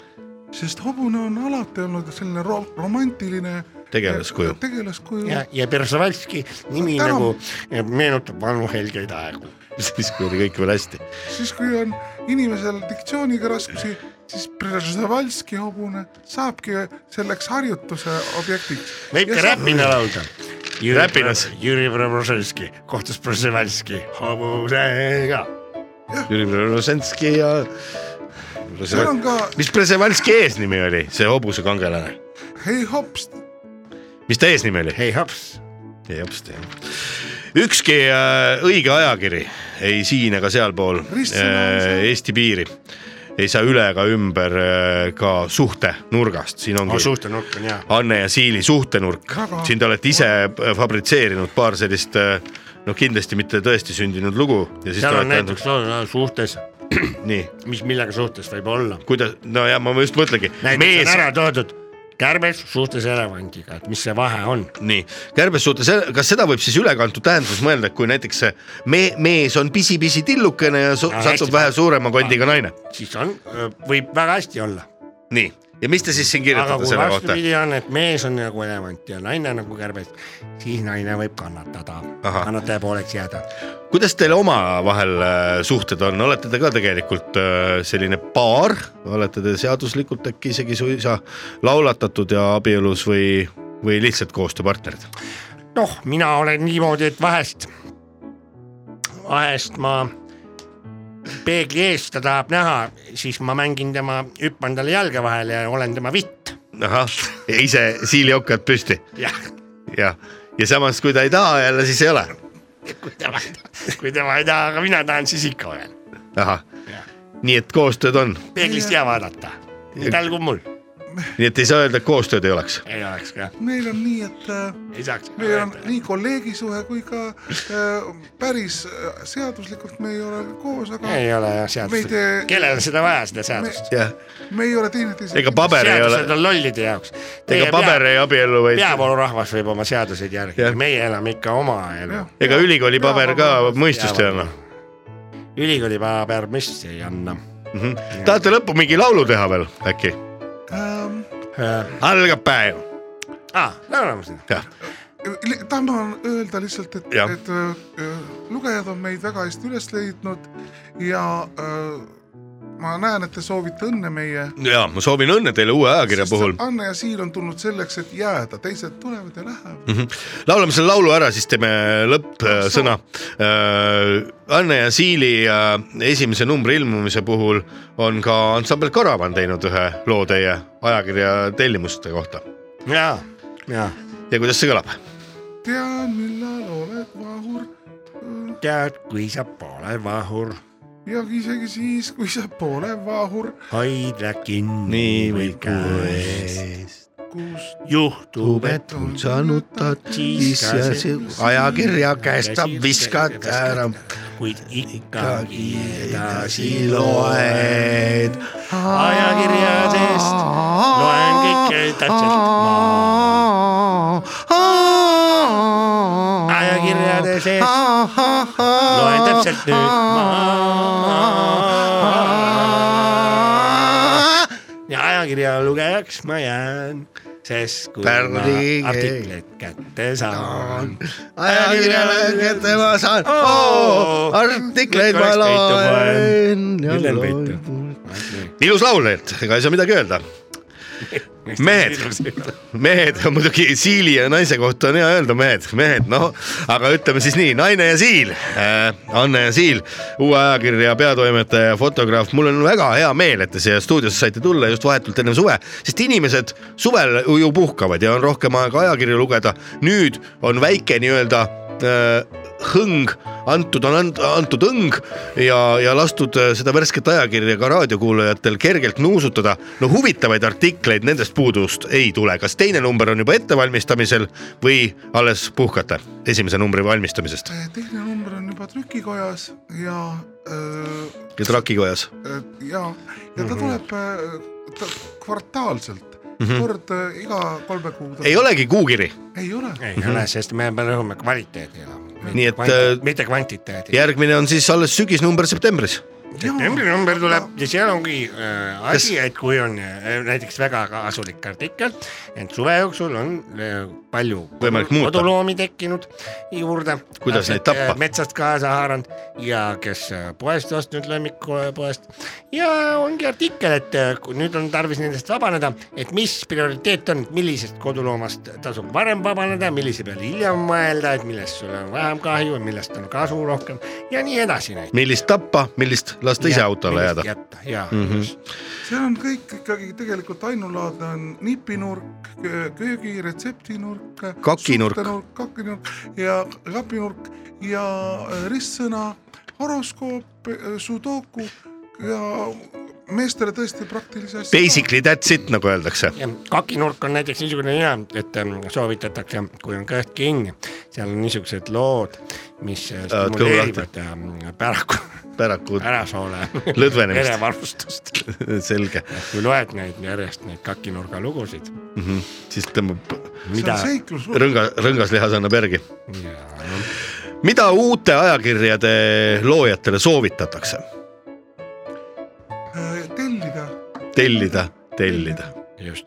sest hobune on alati olnud selline ro romantiline
Tegelaskuju.
tegelaskuju
ja , ja Brzevalski nimi
Tänu.
nagu äh, meenutab vanu helgeid aegu .
siis kui oli kõik veel hästi .
siis kui on inimesel diktsiooniga raskusi , siis Brzevalski hobune saabki selleks harjutuse objektiks .
võib ka räpina laulda .
Räpinas. .
Jüri Brzezinski kohtus Brzezinski hobusega .
Jüri Brzezinski ja .
seal on ka
mis Przewalski eesnimi oli , see hobuse kangelane ,
hei hops ,
mis ta eesnimi oli ?
hei hops ,
ei hoopis tea . ükski äh, õige ajakiri ei siin ega sealpool
Ristsõna on
äh, Eesti piiri ei saa üle ega ümber äh, ka suhtenurgast , siin ongi
ma suhtlen nurka nii hea .
Anne ja Siili suhtenurk , siin te olete ise fabritseerinud paar sellist äh, noh , kindlasti mitte tõestisündinud lugu ja siis
seal
te
on
olete
näiteks laul suhtes ,
andnud- nii ,
mis millega suhtes võib olla .
kuidas , no ja ma just mõtlengi ,
näiteks
mees
on , ära toodud kärbes suhtes elevandiga , et mis see vahe on .
nii , kärbes suhtes , kas seda võib siis ülekantud tähenduses mõelda , kui näiteks see me- , mees on pisi-pisi tillukene ja su-
Ja
satub
hästi-
vähe suurema kondiga naine ,
siis on , võib väga hästi olla .
nii , ja mis te siis siin
aga
kirjutate
kui
selle kohta ?
vastupidi on , et mees on nagu elevant ja naine nagu kärbes , siis naine võib kannatada ,
Ahah.
kannataja pooleks jääda .
kuidas teil omavahel äh, suhted on , olete te ka tegelikult äh, selline paar , olete te seaduslikult äkki isegi suisa laulatatud ja abielus või , või lihtsalt koostööpartnerid ?
noh , mina olen niimoodi , et vahest , vahest ma peegli ees ta tahab näha , siis ma mängin tema , hüppan talle jalge vahele ja olen tema vitt .
ahah , ise siiliokad püsti
jah ,
jah , ja samas , kui ta ei taha jälle , siis ei ole ,
kui tema , kui tema ei taha , aga mina tahan , siis ikka olen .
ahah , nii et koostööd on ,
peeglist hea vaadata , nii tal kui mul
nii et ei saa öelda , et koostööd ei oleks .
ei oleks ka ,
meil on nii , et äh,
ei saaks .
meil on nii kolleegisuhe kui ka äh, päris äh, seaduslikult me ei ole koos , aga
ei ole
me
jah
ei
seadust ,
tee ,
kellel on seda vaja , seda seadust ?
jah ,
me ei ole teineteisega .
ega paber ei ole
seadused , on lollide jaoks .
ega paber ei abiellu , vaid
peavoolurahvas võib oma seaduseid järgida
Jah. ,
meie elame ikka oma elu .
ega ülikooli paber ka mõistust ei anna .
ülikooli paber mõistust ei anna .
Mhm. tahate lõppu mingi laulu teha veel äkki ?
Ähm,
Äh,
algab päev ,
aa , laulame seda .
jah ,
Li- tahan öelda lihtsalt , et ,
Jah.
et öö, öö, lugejad on meid väga hästi üles leidnud ja öö, ma näen , et te soovite õnne meie .
ja ma soovin õnne teile uue ajakirja puhul .
Anne ja Siil on tulnud selleks , et jääda , teised tulevad ja lähevad .
Mhm. laulame selle laulu ära , siis teeme lõppsõna . Anne ja Siili äh, esimese numbri ilmumise puhul on ka ansambel Karavan teinud ühe loo teie ajakirja tellimuste kohta
jaa , jaa .
ja kuidas see kõlab ?
tean , millal oled vahur
tead , kui sa pole vahur ,
ja isegi siis , kui sa pole vahur ,
hoidla kinni või käest .
kus
juhtub , et
tubetund sa nutad , siis sa see ajakirja käest sa viskad ära ,
kuid ikkagi edasi
edasi
loed .
loed .
ajakirjadest loen kõike täpselt maha . ajakirjade seest loen täpselt nüüd maha . ja ajakirja lugejaks ma jään , sest kui ma
Pärdi-
artikleid kätte saan .
ajakirjale kätte ma saan
Oo,
oh, , artikleid ma
Nikolais Peitu
loen .
Ülen Peitu.
ilus laul , Leelt , ega ei saa midagi öelda . mehed , mehed on muidugi siili ja naise kohta on hea öelda , mehed , mehed , noh , aga ütleme siis nii , naine ja siil äh, , Anne ja siil , uue ajakirja peatoimetaja ja fotograaf , mul on väga hea meel , et te siia stuudiosse saite tulla just vahetult enne suve , sest inimesed suvel ju puhkavad ja on rohkem aega ajakirju lugeda . nüüd on väike nii-öelda äh, hõng , antud on ant- antud hõng ja , ja lastud äh, seda värsket ajakirja ka raadiokuulajatel kergelt nuusutada . no huvitavaid artikleid nendest puudust ei tule , kas teine number on juba ettevalmistamisel või alles puhkate esimese numbri valmistamisest
eh, teine number on juba trükikojas ja öö,
ja trakikojas ?
et ja , ja
Mhm.
ta tuleb äh, ta, kvartaalselt mm , -hmm. kord äh, iga kolme kuu tagant .
Mhm. ei olegi kuukiri ,
ei ole .
ei ole , sest me me rõhume kvaliteedile .
Mhm. Nii et, äh,
mitte kvantiteedile .
järgmine on siis alles sügisnumber septembris .
septembri number tuleb ja seal ongi äh, asi , et kui on äh, näiteks väga kasulik artikkel , et suve jooksul on äh, palju
Võimalik muuta.
koduloomi tekkinud juurde .
Kuidas neid tappa?
metsast kaasa haaranud ja kes äh, poest ostnud lemmikpoest ja ongi artikkel , et äh, kui nüüd on tarvis nendest vabaneda , et mis prioriteet on , millisest koduloomast tasub varem vabaneda , millise peale hiljem mõelda , et millest sul on vähem kahju , millest on kasu rohkem ja nii edasi näiteks
millist tappa , millist lasta ise autole jääda . Mhm.
jätta , jaa mm . -hmm.
see on kõik ikkagi tegelikult ainulaadne on nipinurk , köögiretseptinurk ,
Kakinurk. ,
kakinurk ja kapinurk ja äh, ristsõna , horoskoop , sudoku ja meestele tõesti praktilise asja .
Basically that's it , nagu öeldakse .
ja kakinurk on näiteks niisugune hea , et ähm, soovitatakse , kui on kõht kinni , seal on niisugused lood , mis äh,
kõhu
stimuleerivad ähm, päraku ,
päraku
pärasoole
Lõdvenemist.
verevarustust .
selge ,
kui loed neid järjest , neid kakinurga lugusid ,
siis tõmbab
see
mida
on , seiklus ,
rõnga , rõngaslihas annab järgi .
jaa ,
mida uute ajakirjade loojatele soovitatakse
Eh, tellida
tellida , tellida ?
just .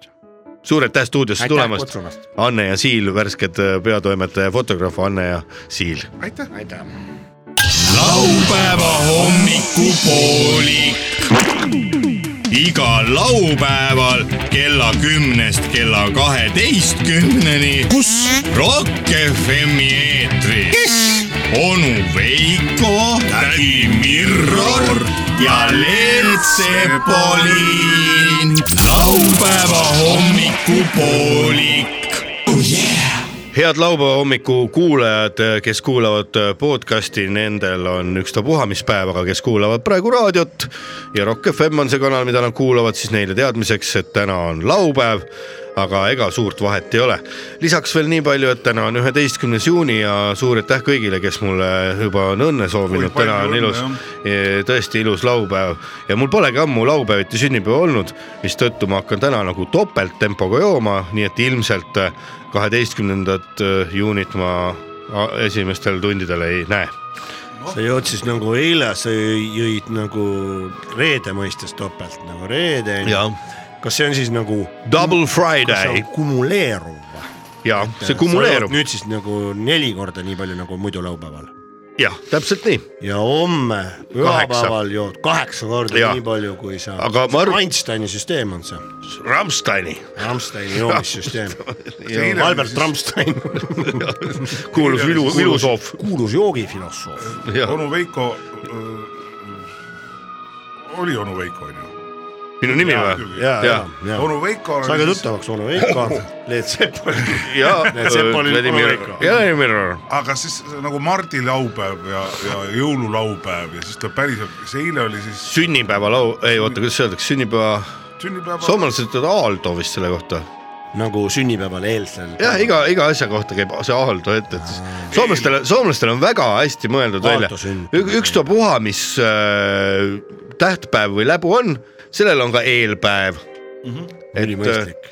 suured aitäh stuudiosse
aitäh
tulemast ,
kutsumast ,
Anne ja Siil , värsked peatoimetaja ja fotograaf Anne ja Siil .
aitäh .
laupäeva hommikupoolik . igal laupäeval kella kümnest kella kaheteistkümneni . kus ? Rock FM-i eetris . kes ? onu Veiko , tädi Mirror ja Leelt Sepolin . laupäeva hommikupoolik . oh yeah .
head laupäeva hommiku kuulajad , kes kuulavad äh, podcast'i , nendel on ükstapuha , mis päev , aga kes kuulavad praegu raadiot ja Rock FM on see kanal , mida nad kuulavad , siis neile teadmiseks , et täna on laupäev , aga ega suurt vahet ei ole . lisaks veel nii palju , et täna on üheteistkümnes juuni ja suur aitäh kõigile , kes mulle juba on õnne soovinud ,
palju
täna on
õnne,
ilus
jah.
Ja tõesti ilus laupäev ja mul polegi ammu laupäeviti sünnipäeva olnud , mistõttu ma hakkan täna nagu topelttempoga jooma , nii et ilmselt kaheteistkümnendat juunit ma a- esimestel tundidel ei näe .
sa jood siis nagu eile , sa jõid nagu reede mõistes topelt nagu reede . kas see on siis nagu ,
Double
kas see
Friday
on kumuleeruv või ?
ja see kumuleerub ,
nüüd siis nagu neli korda nii palju nagu muidu laupäeval
jah , täpselt nii ,
ja homme pühapäeval jood kaheksa korda
Jaa.
ja. nii palju , kui sa .
Aga ma arv-
Einsteini süsteem on see ,
Rammsteini
Rammsteini joomissüsteem .
Eile oli
Albert
siis-
Rammstein ,
kuulus ilu , ilusoof ,
kuulus joogifilosoof .
jah ,
onu Veiko äh, . oli onu Veiko onju ?
minu nimi või ?
ja , ja
Jaa. ,
ja .
onu Veiko olen
saage . tuttavaks , onu Veiko , Leet Seppolin .
ja
Näed, Sepp oli Veiko.
Vladimir ,
aga siis nagu Mardi laupäev ja , ja jõululaupäev ja siis tuleb päriselt , kas eile oli siis
sünnipäevalau , ei oota , kuidas öeldakse , sünnipäeva ,
sünnipäev ?
soomlased ütlevad Aaldo vist selle kohta .
nagu sünnipäeval eelsel .
jah , iga , iga asja kohta käib see Aaldo ette , et siis soomlastele , soomlastele on väga hästi mõeldud välja
Aalto sünd. .
ükstapuha , mis äh, tähtpäev või läbu on , sellel on ka eelpäev .
Mhm. ülimõistlik .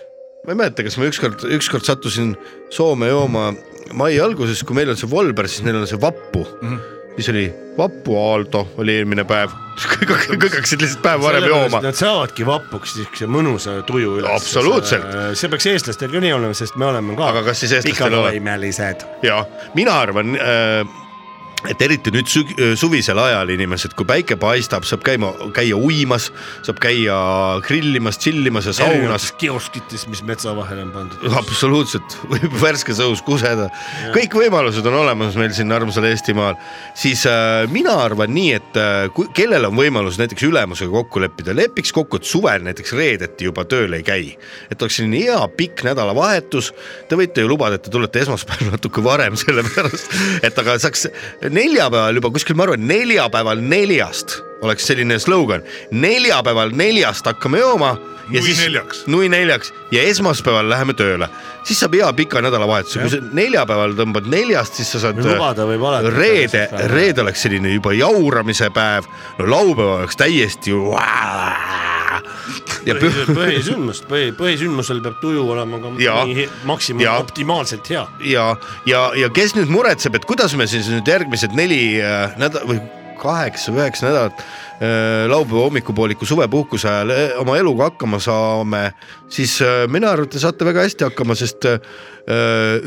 ma ei mäleta , kas ma ükskord , ükskord sattusin Soome jooma mai alguses , kui meil on see Volber , siis neil on see Vappu mm .
Mhm.
-hmm siis oli Vapu Aalto oli eelmine päev , kõik hakk- kõik hakkasid lihtsalt päev varem jooma .
Nad saavadki vapuks niisuguse mõnusa tuju üles .
Absoluutselt.
see peaks eestlastel ka nii olema , sest me oleme ka .
Aga kas siis eestlastel ole?
pikavõimelised .
ja mina arvan , et eriti nüüd süg- äh, suvisel ajal inimesed , kui päike paistab , saab käima , käia uimas , saab käia grillimas , tšillimas ja saunas
erinevates . kioskites , mis metsa vahele on pandud .
absoluutselt , võib värskes õhus kuseda , kõik võimalused on olemas meil siin armsal Eestimaal , siis äh, mina arvan nii , et äh, kui , kellel on võimalus näiteks ülemusega kokku leppida , lepiks kokku , et suvel näiteks reedeti juba tööl ei käi . et oleks selline hea pikk nädalavahetus , te võite ju lubada , et te tulete esmaspäeval natuke varem , sellepärast et aga saaks neljapäeval juba kuskil , ma arvan , neljapäeval neljast oleks selline slogan , neljapäeval neljast hakkame jooma ja
Nui
siis
neljaks.
nui neljaks ja esmaspäeval läheme tööle , siis saab hea pika nädalavahetuse , kui sa neljapäeval tõmbad neljast , siis sa saad .
Või lubada võib alati
reede
täpselt ära. ,
reede oleks selline juba jauramise päev , no laupäev oleks täiesti . ja püh-
põhisündmust , põhi , põhisündmusel peab tuju olema ka
Jaa.
nii he- maksimaal
Jaa.
optimaalselt hea .
ja , ja , ja kes nüüd muretseb , et kuidas me siis nüüd järgmised neli äh, nädal või kaheksa-üheksa nädalat äh, laupäeva hommikupooliku suvepuhkuse ajal äh, oma eluga hakkama saame , siis äh, mina arvan , et te saate väga hästi hakkama , sest äh,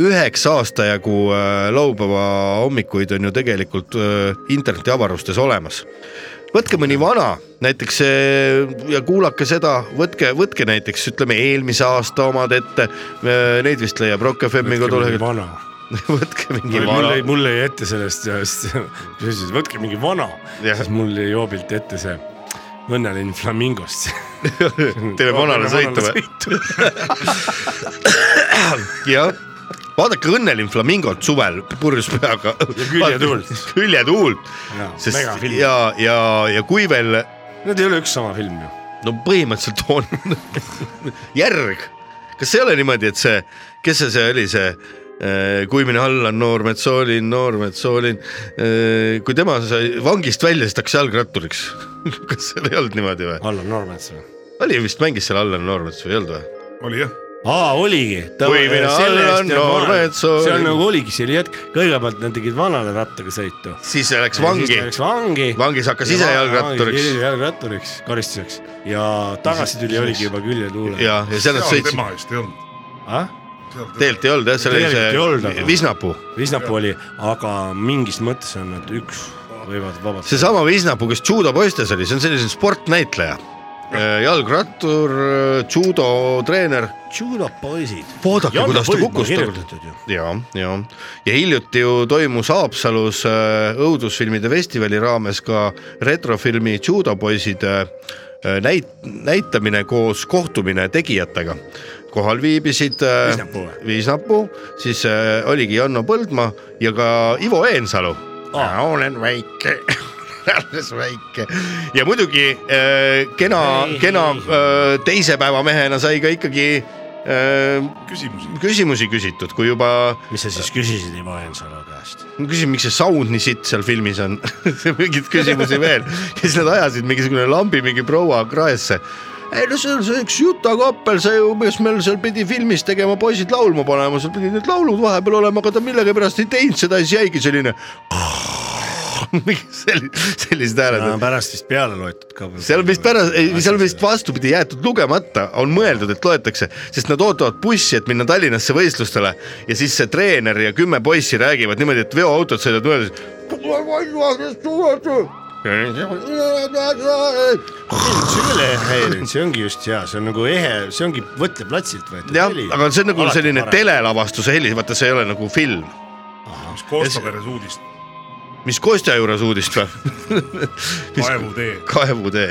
üheksa aasta jagu äh, laupäeva hommikuid on ju tegelikult äh, internetiavarustes olemas võtke mõni vana , näiteks äh, ja kuulake seda , võtke , võtke näiteks ütleme eelmise aasta omad ette , neid vist leiab Rock FM-i koduleheküljelt .
vana .
võtke mingi
mul
vana
jäi ,, mul jäi ette sellest , sellest , võtke mingi vana ,
Jah.
siis mul jäi joobilt ette see õnneline flamingost .
teeme vanale sõitu või ?? jah , vaadake Õnnelin flamingot suvel purjus peaga .
küljetuult. .
küljetuult , sest
megafilm.
ja , ja , ja kui veel ,
Need ei ole üks sama film ju .
no põhimõtteliselt on järg , kas ei ole niimoodi , et see , kes see , see oli see äh, kui mine alla , noor metsoolin , noor metsoolin . kui tema sai vangist välja , siis ta hakkas jalgratturiks . kas seal ei olnud niimoodi või ?
Allan Normets või ?
oli vist mängis seal Allan Noormets või ei olnud või ?
oli jah ,
aa , oligi .
Kui mina olen noor mets olin.
seal nagu oligi , see oli jätk , kõigepealt nad tegid vanale rattaga sõitu .
siis läks vangi ,
Läks vangi .
vangis hakkas ise jalgratturiks
jalgratturiks , karistuseks ja tagasi tuli , oligi juba Ah? küljetuule .
ja , ja seal nad
seal
sõitsid ,
tema eest ei olnud .
tegelikult ei olnud jah , seal oli
Tegelikult ei olnud, aga-
see Visnapuu ,
Visnapuu oli , aga mingis mõttes on nad üks , võivad vabalt .
seesama Visnapuu , kes judo poistes oli , see on selline sportnäitleja , jalgrattur , judo treener
Judo poisid .
Vaadake, kuidas ta kukkus
kirjutatud ju .
ja , ja , ja hiljuti ju toimus Haapsalus äh, õudusfilmide festivali raames ka retrofilmi Judo poisid äh, näit- , näitamine koos kohtumine tegijatega . kohal viibisid äh,
Viisnapuu või?
Viisnapuu , siis äh, oligi Janno Põldmaa ja ka Ivo Eensalu
Aa. .
olen väike alles väike ja muidugi äh, kena , kena äh, teise päeva mehena sai ka ikkagi äh,
küsimusi .
küsimusi küsitud , kui juba ,
mis sa siis küsisid Ivo Eensalu käest ?
ma küsin , miks see sound nii sitt seal filmis on , mingeid küsimusi veel ja siis nad ajasid mingisugune lambi mingi proua kraesse . ei no see on see üks Juta Kappel , see ju , kes meil seal pidi filmis tegema , poisid laulma panema , seal pidid need laulud vahepeal olema , aga ta millegipärast ei teinud seda ja siis jäigi selline mingi selli- sellised hääled no, .
pärast vist peale loetud ka .
seal on vist pärast , seal on vist vastupidi jäetud lugemata , on mõeldud , et loetakse , sest nad ootavad bussi , et minna Tallinnasse võistlustele ja siis see treener ja kümme poissi räägivad niimoodi , et veoautod sõidavad mööda .
selle häirinud , see ongi just hea , see on nagu ehe , see ongi Võtle platsilt võetud
jah , aga see on nagu selline . telelavastuse heli , vaata , see ei ole nagu film .
mis Kostaveres uudist .
mis Kostja juures uudist või
kaevutee .
kaevutee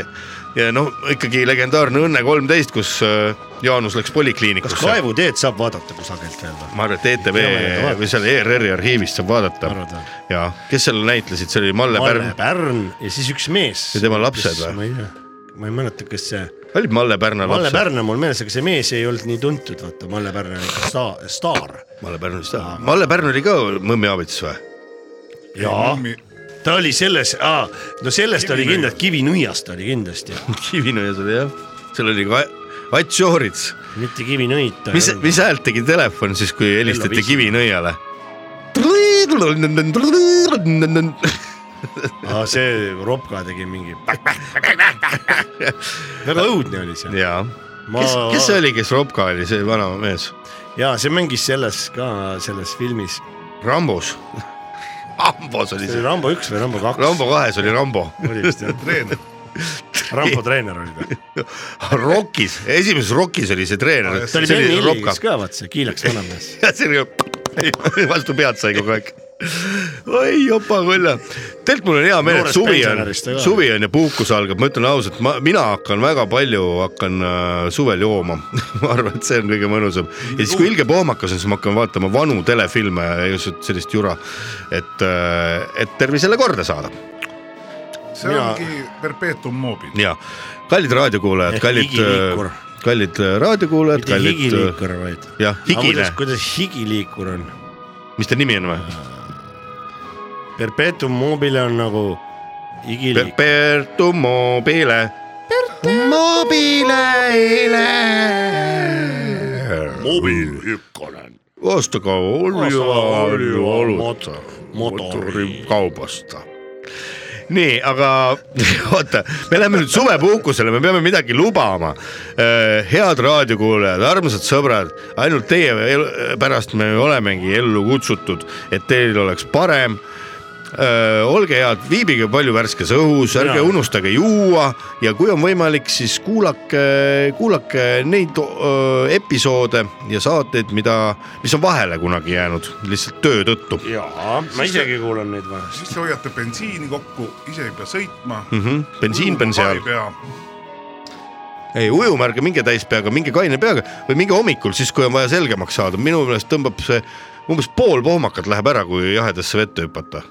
ja no ikkagi legendaarne Õnne kolmteist , kus äh, Jaanus läks
kas
polikliinikusse .
kaevuteed saab vaadata kusagilt veel või ?
ma arvan , et ETV
Peame vaatama.
või seal E ERR-i arhiivist saab vaadata
Arvad või?
ja kes seal näitlesid , see oli Malle
Pärn.
Pärn ,
Pärn ja siis üks mees .
Ja tema lapsed või?
ma ei tea , ma ei mäleta , kes see ,
oli Malle Pärna
Malle
laps .
Pärn on mul meeles , aga see mees ei olnud nii tuntud , vaata Malle Pärn on ikka sta- staar .
Malle Pärn vist jah , Malle Pärn oli ka Mõmmi abitus või ?
jaa , ta oli selles , no sellest oli kindlalt , Kivinõiast oli kindlasti ,
Kivinõias oli jah , seal oli ka Ats Joorits ,
mitte Kivinõid .
mis , mis häält tegi telefon siis , kui helistati
viiskümmend.
Kivinõiale ?
aa , see Ropka tegi mingi . väga õudne oli see .
jaa , kes , kes see ? oli , kes Ropka oli , see vana mees ?
jaa , see mängis selles ka , selles filmis .
Rambos . Rambos oli
see oli
see ,
Rambo üks või Rambo kaks ?
Rambo kahes oli Rambo .
oli vist jah ,
treener .
Rambo treener oli ta .
Rockis , esimeses Rockis oli see treener .
ta oli Ben Hillis ka , vaat see kiilaks vanamees .
ja see oli vastu pead sai kogu aeg . oi jopa-kõlla , tegelikult mul on hea meel , et
Noorest
suvi on
pensionärist ta , ka.
suvi on ja puhkus algab , ma ütlen ausalt , ma , mina hakkan väga palju , hakkan äh, suvel jooma . ma arvan , et see on kõige mõnusam ja siis , kui ilge pohmakas on , siis ma hakkan vaatama vanu telefilme ja just sellist jura , et , et tervisele korda saada
see
Mina-
ongi perpetuum mobile .
ja kallid raadiokuulajad ,
Ehk
kallid
higiliikur. ,
kallid äh, raadiokuulajad ,
mitte
kallid , äh,
higiliikur , vaid .
jah , Ah, higine ,
kuidas higiliikur on ?
mis ta nimi on või ?
Perpetuum mobile on nagu higiliikur .
Perpetuum mobile . osta olju , olju , motori kaubast . nii , aga oota , me läheme nüüd suvepuhkusele , me peame midagi lubama . head raadiokuulajad , armsad sõbrad , ainult teie elu- pärast me olemegi ellu kutsutud , et teil oleks parem . olge head , viibige palju värskes õhus , ärge
Jaa.
unustage juua ja kui on võimalik , siis kuulake , kuulake neid öö, episoode ja saateid , mida , mis on vahele kunagi jäänud lihtsalt töö tõttu .
jaa , ma isegi kuulan neid vahest .
siis te hoiate bensiini kokku , ise ei pea sõitma .
Mhm. Hmm? bensiin
Mm,
pean seal , ei ujuma ärge minge täis peaga , minge kaine peaga või minge hommikul , siis kui on vaja selgemaks saada , minu meelest tõmbab see umbes pool pohmakat läheb ära , kui jahedasse vette hüpata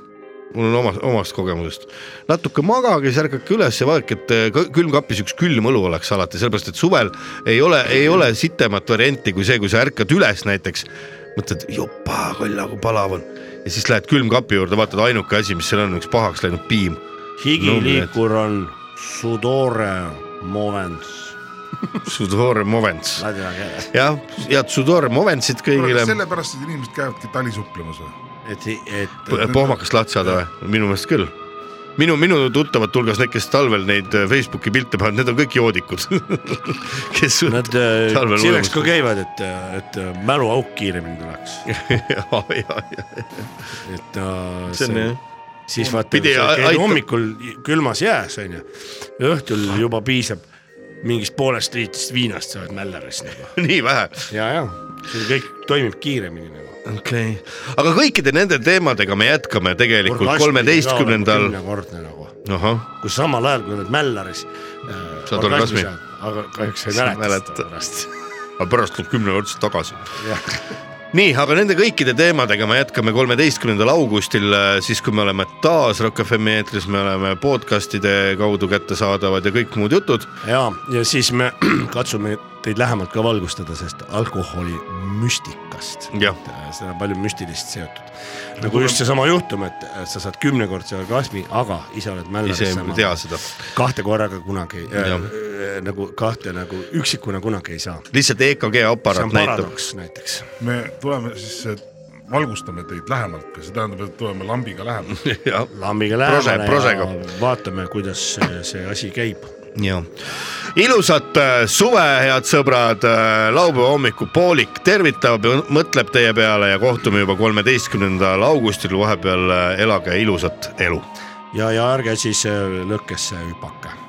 mul on oma , omast kogemusest . natuke magage , siis ärgake üles ja vaadake , et eh, kõ- külmkapis üks külm õlu oleks alati , sellepärast et suvel ei ole , ei ole sitemat varianti kui see , kui sa ärkad üles näiteks , mõtled jopa , kolla kui palav on ja siis lähed külmkapi juurde , vaatad ainuke asi , mis seal on , üks pahaks läinud piim .
higiliikur on sudore movens .
Sudore movents ,
ladina keeles .
jah , head Sudore moventsit kõigile
sellepärast need inimesed käivadki talisuuplemas või ?
et , et
P- pohmakast lahti saada või ? minu meelest küll . minu , minu tuttavate hulgas need , kes talvel neid äh, Facebooki pilte panevad , need on kõik joodikud . kes
nad äh,
talvel
selleks ka
ujumas-
käivad , et , et äh, mäluauk kiiremini tuleks .
ja , ja , ja
et äh,
see on jah .
siis vaata ,
Pidi a-
käid
aitab-
hommikul külmas jääs onju , õhtul juba piisab mingist poolest liitrist viinast , sa oled mälleris nagu .
nii vähe .
ja , ja see kõik toimib kiiremini nagu .
okei okay. , aga kõikide nende teemadega me jätkame tegelikult kolmeteistkümnendal ,
kümnekordne nagu
ahah ,
kus samal ajal , kui oled Mällaris äh, .
Saad orgasmi. .
aga kahjuks sa ei
Sa ei
mäleta,
mäleta.
seda pärast .
aga pärast tuleb kümne otsa tagasi . nii , aga nende kõikide teemadega me jätkame kolmeteistkümnendal augustil , siis kui me oleme taas Rock FM-i eetris , me oleme podcast'ide kaudu kättesaadavad ja kõik muud jutud .
ja , ja siis me katsume teid lähemalt ka valgustada , sest alkoholi müstikast .
Jah.
seal on palju müstilist seotud . nagu just seesama juhtum , et et sa saad kümnekordse orgasmi , aga ise oled Mällaris .
ise ei tea seda .
kahte korraga kunagi äh,
Jah.
äh, nagu kahte nagu üksikuna kunagi ei saa .
lihtsalt EKG
see
aparaat
on
näitab .
paradoks näiteks .
me tuleme siis , valgustame teid lähemalt või see tähendab , et tuleme lambiga lähemalt .
jah ,
lambiga
Prose-
lähemale
prosega.
ja vaatame , kuidas see- see asi käib
jah . ilusat äh, suve , head sõbrad , laupäeva hommikupoolik tervitab , mõtleb teie peale ja kohtume juba kolmeteistkümnendal augustil , vahepeal äh, elage ilusat elu
ja , ja ärge siis äh, lõkkesse hüpake